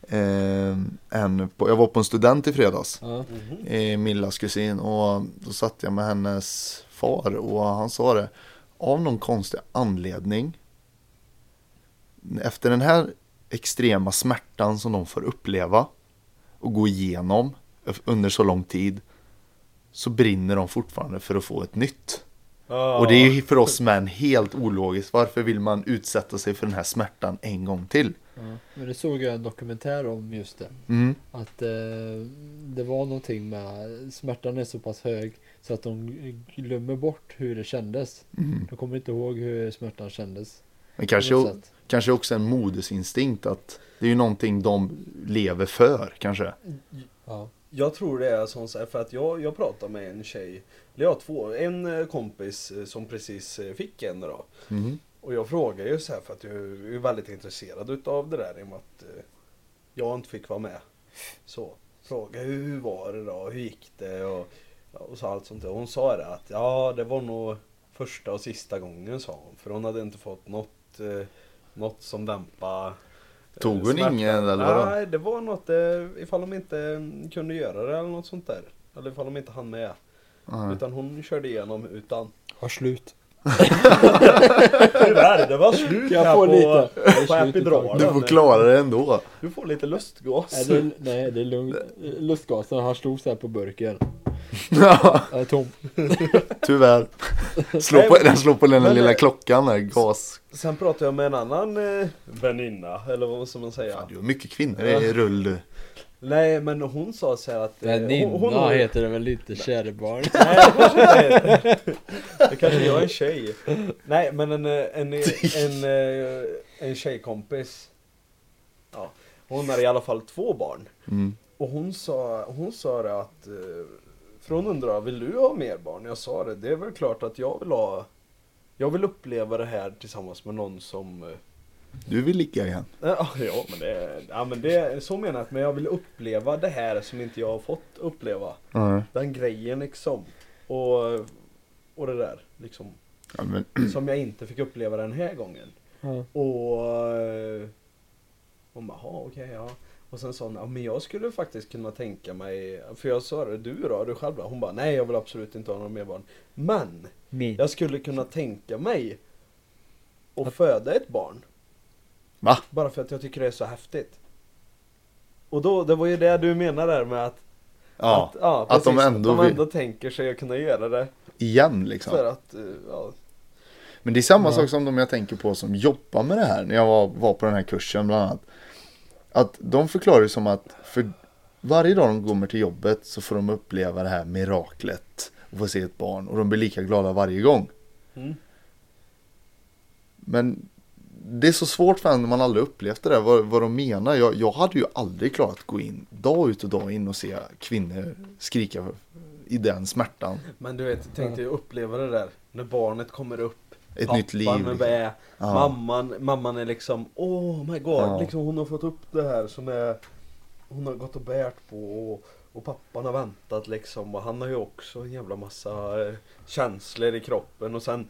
eh, en, på, jag var på en student i fredags.
Ja.
mhm.
Eh, Millas kusin och då satt jag med hennes far och han sa det. Av någon konstig anledning. Efter den här extrema smärtan som de får uppleva och gå igenom under så lång tid så brinner de fortfarande för att få ett nytt.
Ja.
Och det är ju för oss män helt ologiskt. Varför vill man utsätta sig för den här smärtan en gång till?
Ja. Men det såg jag en dokumentär om just det.
Mm.
Att eh, det var någonting med smärtan är så pass hög så att de glömmer bort hur det kändes.
Mm.
De kommer inte ihåg hur smärtan kändes.
Men
på
kanske,
något sätt.
kanske också en modesinstinkt att det är ju någonting de lever för kanske.
Ja.
Jag tror det är sånt så här, för att jag, jag pratade med en tjej, eller jag har två, en eh, kompis eh, som precis eh, fick en då.
Mm.
Och jag frågar ju så här för att jag är väldigt intresserad utav det där i och med att eh, jag inte fick vara med. Så fråga hur, hur var det då, hur gick det och, och så allt sånt där. Hon sa det att ja det var nog första och sista gången sa hon. För hon hade inte fått något, eh, något som dämpa
Tog hon ingen, eller vadå?
vadå? Nej det var något eh, ifall de inte mm, kunde göra det eller något sånt där. Eller ifall de inte hann med.
Ja.
Utan hon körde igenom utan.
Har slut.
Tyvärr det var slut
Jag
här
får
på,
lite. Det är
på
slut
Happy
ett
Draw.
tag.
Du får klara det ändå. <laughs>
Du får lite lustgas.
Nej, det, nej, det är lugnt. Lustgasen, han stod så här på burken.
Ja,
Jag är tom.
Tyvärr. Slå på, den slår på den
Men,
lilla
eh,
klockan där, gas.
<laughs> Sen pratade jag med en annan eh, väninna, eller vad ska man säga?
Fan, du har mycket kvinnor i rull du.
Nej, men hon sa så här att... eh,
Väninna
hon, hon,
heter det väl inte, käre barn.
Nej, det kanske inte heter. Det kanske jag är en tjej. Nej, men en, eh, en, eh, en, eh, en tjejkompis. Ja, hon har i alla fall två barn.
Mm.
Och hon sa, hon sa det att... eh, För hon undrar, vill du ha mer barn? Jag sa det, det är väl klart att jag vill ha... Jag vill uppleva det här tillsammans med någon som... eh,
Du vill ligga igen.
Ja, <laughs> ja, men det, ja, men det så menar jag att men jag vill uppleva det här som inte jag har fått uppleva.
Ja.
Den grejen liksom. Och, och det där liksom. <clears throat>
Ja, men,
Som jag inte fick uppleva den här gången.
Ja.
Och eh, hon bara, jaha okej ja. Och sen sa hon, ja men jag skulle faktiskt kunna tänka mig, för jag sa det, du då, du själv då? Hon bara, nej jag vill absolut inte ha några mer barn. Men,
Min.
jag skulle kunna tänka mig att föda ett barn.
Va?
Bara för att jag tycker det är så häftigt. Och då, det var ju det du menade där med att,
Ja,
att, ja,
att de
precis,
ändå
de
vill-
ändå tänker sig att kunna göra det.
igen liksom.
För att, eh, ja,
Men det är samma
Ja.
sak som de jag tänker på som jobbar med det här. När jag var, var på den här kursen bland annat. Att de förklarar ju som att för varje dag de kommer till jobbet så får de uppleva det här miraklet. Och få se ett barn och de blir lika glada varje gång.
Mm.
Men det är så svårt för en när man aldrig upplevt det där. Vad, vad de menar. Jag, jag hade ju aldrig klarat att gå in dag ut och dag in och se kvinnor skrika i den smärtan.
men du vet, tänk dig att uppleva det där när barnet kommer upp.
Ett
pappan
nytt liv.
är
liksom.
med,
Ja.
mamman, mamman är liksom oh my god,
Ja.
liksom, hon har fått upp det här som är, hon har gått och bärt på och, och pappan har väntat liksom och han har ju också en jävla massa eh, känslor i kroppen och sen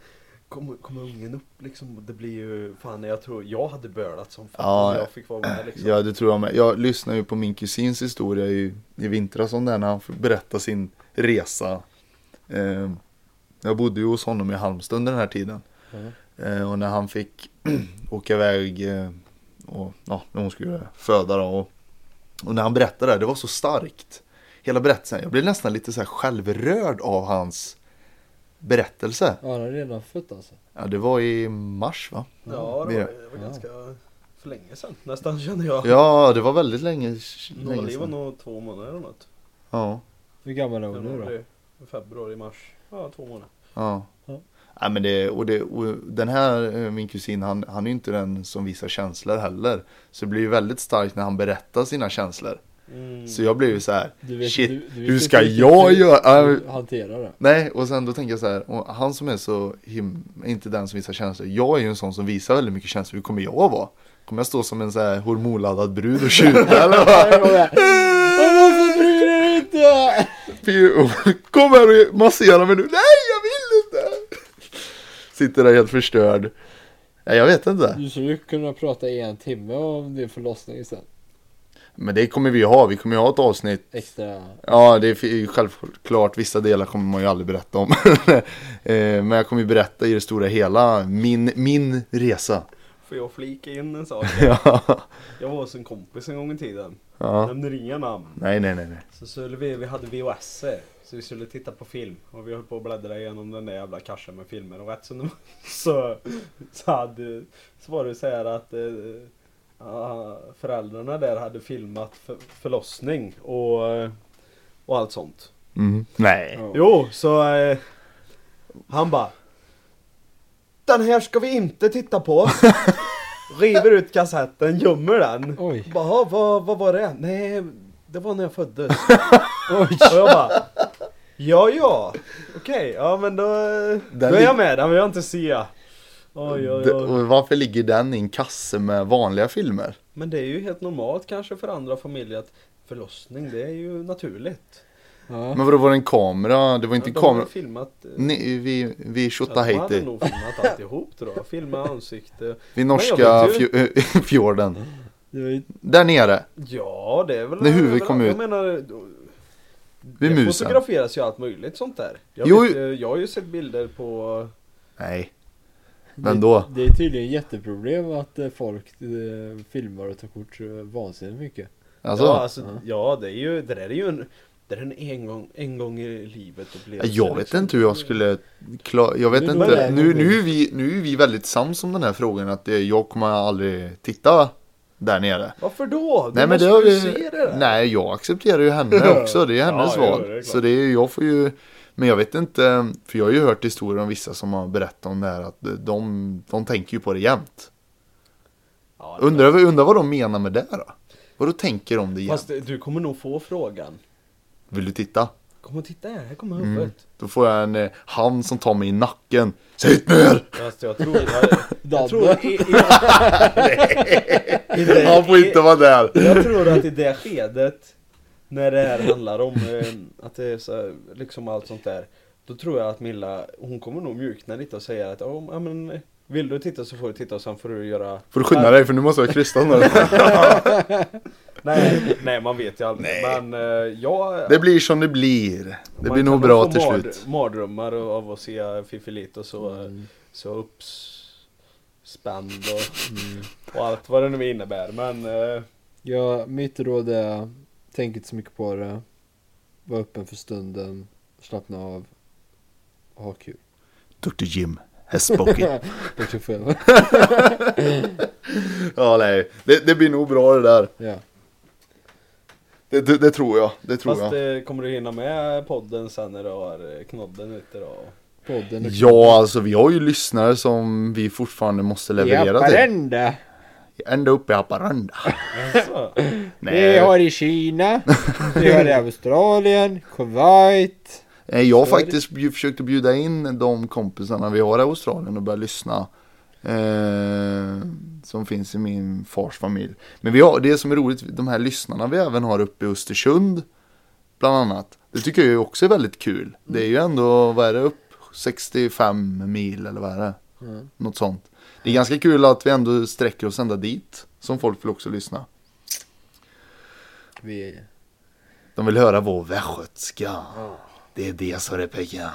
kommer kommer ungen upp liksom och det blir ju fan jag tror jag hade bölat som fan
Ja,
om
ja.
jag fick vara med liksom.
Äh, Ja, det tror jag med. Jag lyssnade ju på min kusins historia i, i vintras om den när han berättade sin resa. Eh, jag bodde ju hos honom i Halmstad under den här tiden.
Mm.
Eh, och när han fick <clears throat> åka iväg eh, och ja, när hon skulle föda då. Och, och när han berättade det, det var så starkt. Hela berättelsen. Jag blev nästan lite så här självrörd av hans berättelse.
Ja, han har redan fött alltså.
Ja, det var i mars va?
Ja, det
Ja.
var, det var ganska för länge sedan nästan <laughs> känner jag.
Ja, det var väldigt länge, länge
Norli var
sedan.
nog två månader eller något.
Ja.
Hur gammal är hon nu då?
Januari, Februari, mars. Ja, två månader.
Ja.
Ja.
Ja, men det, och det, och den här, eh, min kusin, han, han är ju inte den som visar känslor heller. Så det blir ju väldigt starkt när han berättar sina känslor.
Mm.
Så jag blir ju så här,
Du vet-
shit,
du- du vet
hur
inte
ska
riktigt
jag
hur-
göra?
Hur
Äh,
hanterar det?
Nej, och sen då tänker jag så här, och han som är så him, inte den som visar känslor. Jag är ju en sån som visar väldigt mycket känslor. Hur kommer jag att vara? Kommer jag stå som en så här hormonladdad brud och tjuta eller vad?
<laughs> Jag kommer här. "Åh, Varför bryr du dig inte?
Pio, <laughs> kom här och massera mig nu. Nej, jag vill inte! Sitter där helt förstörd. Nej, jag vet inte.
Du skulle kunna prata i en timme om din förlossning sen.
Men det kommer vi ju ha. Vi kommer ju ha ett avsnitt.
Extra.
Ja, det är ju självklart. Vissa delar kommer man ju aldrig berätta om. <laughs> Eh, Men jag kommer ju berätta i det stora hela. Min, min resa. <laughs>
Får jag flika in en sak?
Ja.
Jag var hos en kompis en gång i tiden.
ja.
Nämner inga namn.
Nej, nej, nej. nej.
Så skulle vi, vi hade VHS så vi skulle titta på film. Och vi höll på att bläddra igenom den där jävla kassen med filmer. Och rätt som det var <laughs> så, så, hade, så var det så här att eh, ah, föräldrarna där hade filmat för, förlossning och, eh, och allt sånt.
Mm. Nej.
Ja.
Jo, så eh, han bara Den här ska vi inte titta på. River ut kassetten, gömmer den.
Oj.
Bara, "Ha, vad, vad var det? Nej, det var när jag föddes.
Oj.
Och jag bara Ja, ja. Okej, ja men då, då är jag med. Den vill jag inte se. Oj, oj,
D-
oj.
och Varför ligger den i en kasse med vanliga filmer?
Men det är ju helt normalt kanske för andra familjer att förlossning, det är ju naturligt.
Ja.
Men vadå, var det en kamera? Det var inte en
Ja, de har
kamera?
ju filmat eh,
Nej, vi, vi
Ja, De hade
Tjotahejti.
nog filmat alltihop tror jag. Filma ansikte.
Vid
Men
norska
jag vet ju-
fjo- <laughs> fjorden.
Det var ju-
Där nere.
Ja, det är väl...
När huvudet kom
jag
ut.
menar...
Vid
det
musen.
fotograferas ju allt möjligt sånt där. Jag,
Jo,
vet, eh, jag har ju sett bilder på...
Nej. Men då?
Det, det är tydligen jätteproblem att eh, folk eh, filmar och tar kort eh, vansinnigt mycket.
Alltså.
Ja, alltså,
Ja.
ja det, är ju, det där är ju en... Det där är en, en, gång, en gång i livet upplevelse.
Jag vet
liksom.
inte hur jag skulle klara, jag vet
Nu
inte.
börjar jag
Nu,
gå
nu, är vi, nu är vi väldigt sams om den här frågan att det, jag kommer aldrig titta där nere.
Varför då? Du
Nej men det
måste
har
ju
vi,
se det där.
nej jag accepterar ju
<laughs>
henne också, det är hennes
Ja, ja,
val.
det är klart.
så det är, jag får ju, men jag vet inte, för jag har ju hört historier om vissa som har berättat om det här att de, de tänker ju på det jämt.
Ja, det-
Undrar, undrar vad de menar med det då? Vad då tänker de det jämt?
Fast du kommer nog få frågan.
Vill du titta?
Kom och titta här, här kommer
Mm.
huvudet.
Då får jag en eh, hand som tar mig i nacken. Sitt ner!
Fast jag
<laughs>
tror... Jag, jag tror...
Dabbe.
<laughs>
I, i, i det-
Han får inte vara där!
Jag tror att i det skedet När det här handlar om eh, att det är så här, liksom allt sånt där Då tror jag att Milla, hon kommer nog mjukna lite och säga att oh, ja, men, Vill du titta så får du titta och sen får du göra
Får du skynda dig för nu måste jag krysta nu.
Nej, nej man vet ju aldrig Men eh, jag
Det blir som det blir. Det
man
blir nog
kan
bra
få
till
mard-
slut. eh, Mm.
mardrömmar av att se Fifi och så, så upps spänd och,
Mm.
och allt vad det nu innebär. Men eh,
Ja, mitt råd är, tänk inte så mycket på det. Var öppen för stunden, slappna av och ha
<laughs>
kul.
Dr Jim has spoken.
Dr. Fever.
<laughs> ja, nej. Det, det blir nog bra det där.
ja.
Det, det, det tror jag. Det tror
fast
jag.
eh, kommer du hinna med podden sen när du har eh, knodden ute då?
<laughs>
Podden är
Ja, alltså vi har ju lyssnare som vi fortfarande måste leverera
I
till.
Haparanda.
Ända uppe i Haparanda.
Alltså,
Vi
Nej,
har i Kina. Vi har i Australien. Kuwait.
nej, Eh, jag har
Sorry.
faktiskt bjud- försökte bjuda in de kompisarna vi har i Australien och börja lyssna. Eh, som finns i min fars familj. Men vi har, det som är roligt, de här lyssnarna vi även har uppe i Östersund. Bland annat. Det tycker jag ju också är väldigt kul. Det är ju ändå, vad är det, upp 65 mil eller vad är det?
Mm.
Något sånt. Det är ganska kul att vi ändå sträcker oss ända dit. Som folk vill också lyssna.
vi
De vill höra vår västgötska. Det är det som är pengar.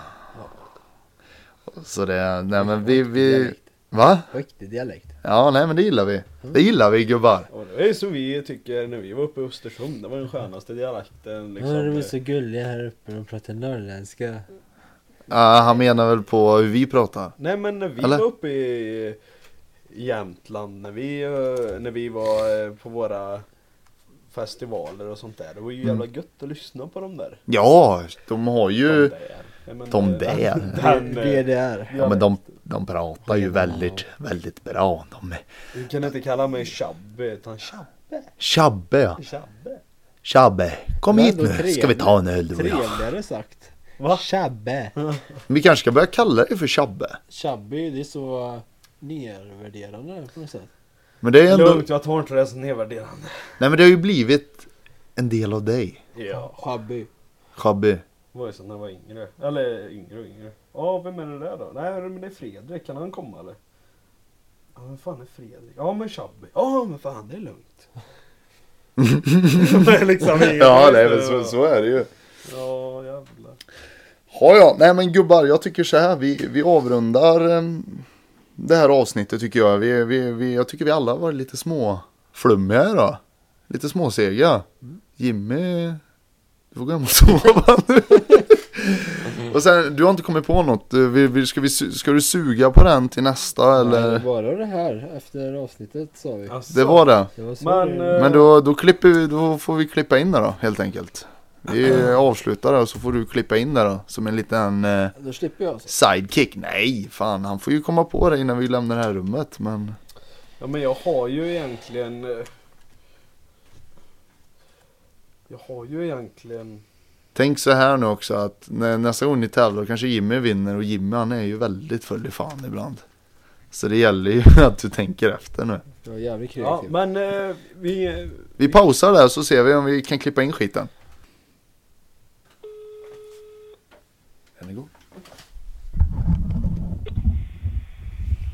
Så det, nej men vi, vi,
dialekt.
va?
Riktig dialekt.
Ja, nej men det gillar vi. Det gillar vi gubbar.
och det är så vi tycker när vi var uppe i Östersund, det var den skönaste dialekten
Ja, de är
liksom.
så gulliga här uppe, de pratar norrländska.
Ja, han menar väl på hur vi pratar.
Nej men när vi
Eller?
var uppe i i Jämtland, när vi, eh, när vi var eh, på våra festivaler och sånt där. Det var ju jävla
Mm.
gött att lyssna på dem där.
Ja, de har ju,
där. Nej, men,
de
eh,
där.
Den,
Det är
eh,
där.
Ja, men de, de pratar ju väldigt, väldigt bra. De är
Du kan inte kalla mig Chabbe utan Chabbe.
Tjabbe, ja.
Chabbe.
Tjabbe, kom
Men
hit
ändå
nu ska vi ta en öl du och jag.
Trevligare sagt.
Va?
Chabbe.
Vi kanske ska börja kalla dig för Tjabbe.
Chubby, det är så nervärderande på något sätt.
Men det är ändå,
Lugnt, jag tar inte det som nedvärderande.
nej men det har ju blivit en del av dig.
Ja.
Chubby.
Tjabbe.
Det var ju så när jag var yngre. Eller yngre och yngre. Ja, vem är det där då? Nej, men det är Fredrik. Kan han komma eller? Ja, men fan är Fredrik? Ja, men Chabbe. Ja, men fan det
<laughs>
är lugnt. det är <laughs> liksom inget
Ja,
konstigt,
nej, men så, så är det ju.
Ja, jävlar.
Ja, ja. Nej, men gubbar, jag tycker så här. Vi, vi avrundar eh, det här avsnittet tycker jag. Vi, vi, vi, jag tycker vi alla var lite små flummiga idag. Lite småsega. Jimmy, du får gå hem och <laughs> sova
<laughs>
nu. och sen, du har inte kommit på något. Eh, Vi, vi, ska, vi, su- ska du suga på den till nästa
Nej,
eller?
bara det här efter avsnittet sa vi.
Alltså,
Det var det.
Det var så
Men,
det-
eh,
Men då, då, klipper vi, då får vi klippa in det då, helt enkelt.
<clears throat>
Vi avslutar det och så får du klippa in det då, som en liten... Eh,
Då slipper jag. Så.
Sidekick? Nej, fan han får ju komma på det innan vi lämnar det här rummet. Men
Ja, men jag har ju egentligen... eh, Jag har ju egentligen...
tänk så här nu också att när, nästa gång ni tävlar kanske Jimmy vinner och Jimmy han är ju väldigt full i fan ibland. Så det gäller ju <laughs> att du tänker efter nu.
Jag var jävligt
Ja,
kreativ.
men eh, vi...
Vi pausar där så ser vi om vi kan klippa in skiten. Den är god.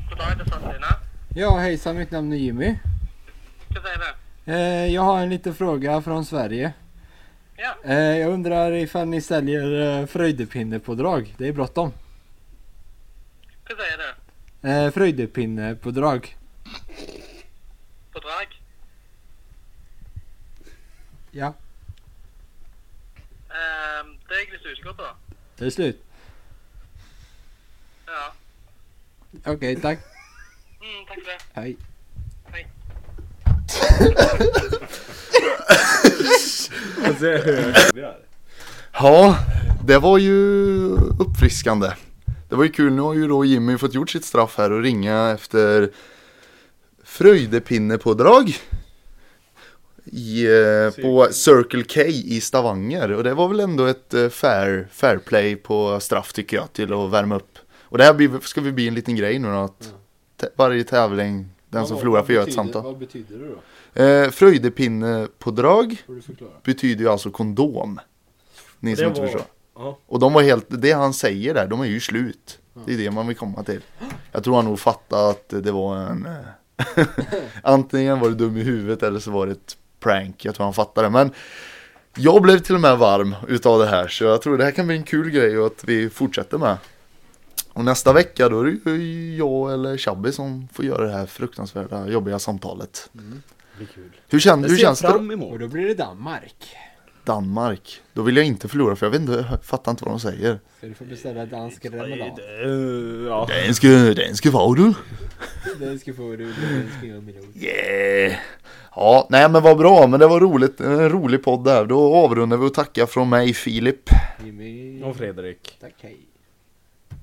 Goddag, det är Stina.
Ja hejsan mitt namn är Jimmy.
Ska säga det?
Eh, jag har en liten fråga från Sverige.
Ja.
Eh, jag undrar ifall ni säljer eh, fröjdepinnepådrag? Det är bråttom.
Ska säga det?
Eh, fröjdepinnepådrag.
På drag?
Ja.
Ehm, det är egentlig usikker på.
Det är slut.
Ja.
Okej tack.
Mm, takk for det.
Hej.
Alltså, jag
<laughs>
hör- vi är-
Ja, det var ju uppfriskande. Det var ju kul, nu har ju då Jimmy fått gjort sitt straff här och ringa efter fröjdepinnepådrag. I, eh, på Circle K i Stavanger och det var väl ändå ett eh, fair, fair play på straff tycker jag till att värma upp. Och det här blir, ska vi bli en liten grej nu då att tä- varje tävling, den som förlorar får göra ett samtal.
Vad betyder det då?
Eh, fröjdepinnepådrag
Får du förklara.
betyder ju alltså kondom. Ni som
Det
inte
var-
förstår.
Ja.
Och de var helt, det han säger där, de är ju slut. Det är det man vill komma till. Jag tror han nog fattade att det var en... eh, <laughs> Antingen var det dum i huvudet eller så var det ett prank. Jag tror han fattade. Men jag blev till och med varm utav det här. Så jag tror det här kan bli en kul grej och att vi fortsätter med. Och nästa vecka då är det ju jag eller Shabby som får göra det här fruktansvärda jobbiga samtalet.
Mm. Det blir kul.
Hur, kän,
Det
hur
ser jag
känns det?
fram
Och
emot.
då blir det Danmark.
Danmark. Då vill jag inte förlora för jag vet inte, jag fattar inte vad de säger.
Så du får beställa dansk remoulad.
Eh, Ja.
Danske, danske du.
Den ska få du den ska göra miljon.
Yeah. Ja, nej men vad bra, men det var roligt. En rolig podd där. Då avrundar vi och tackar från mig Filip.
Jimmy.
Och Fredrik.
Tack hej.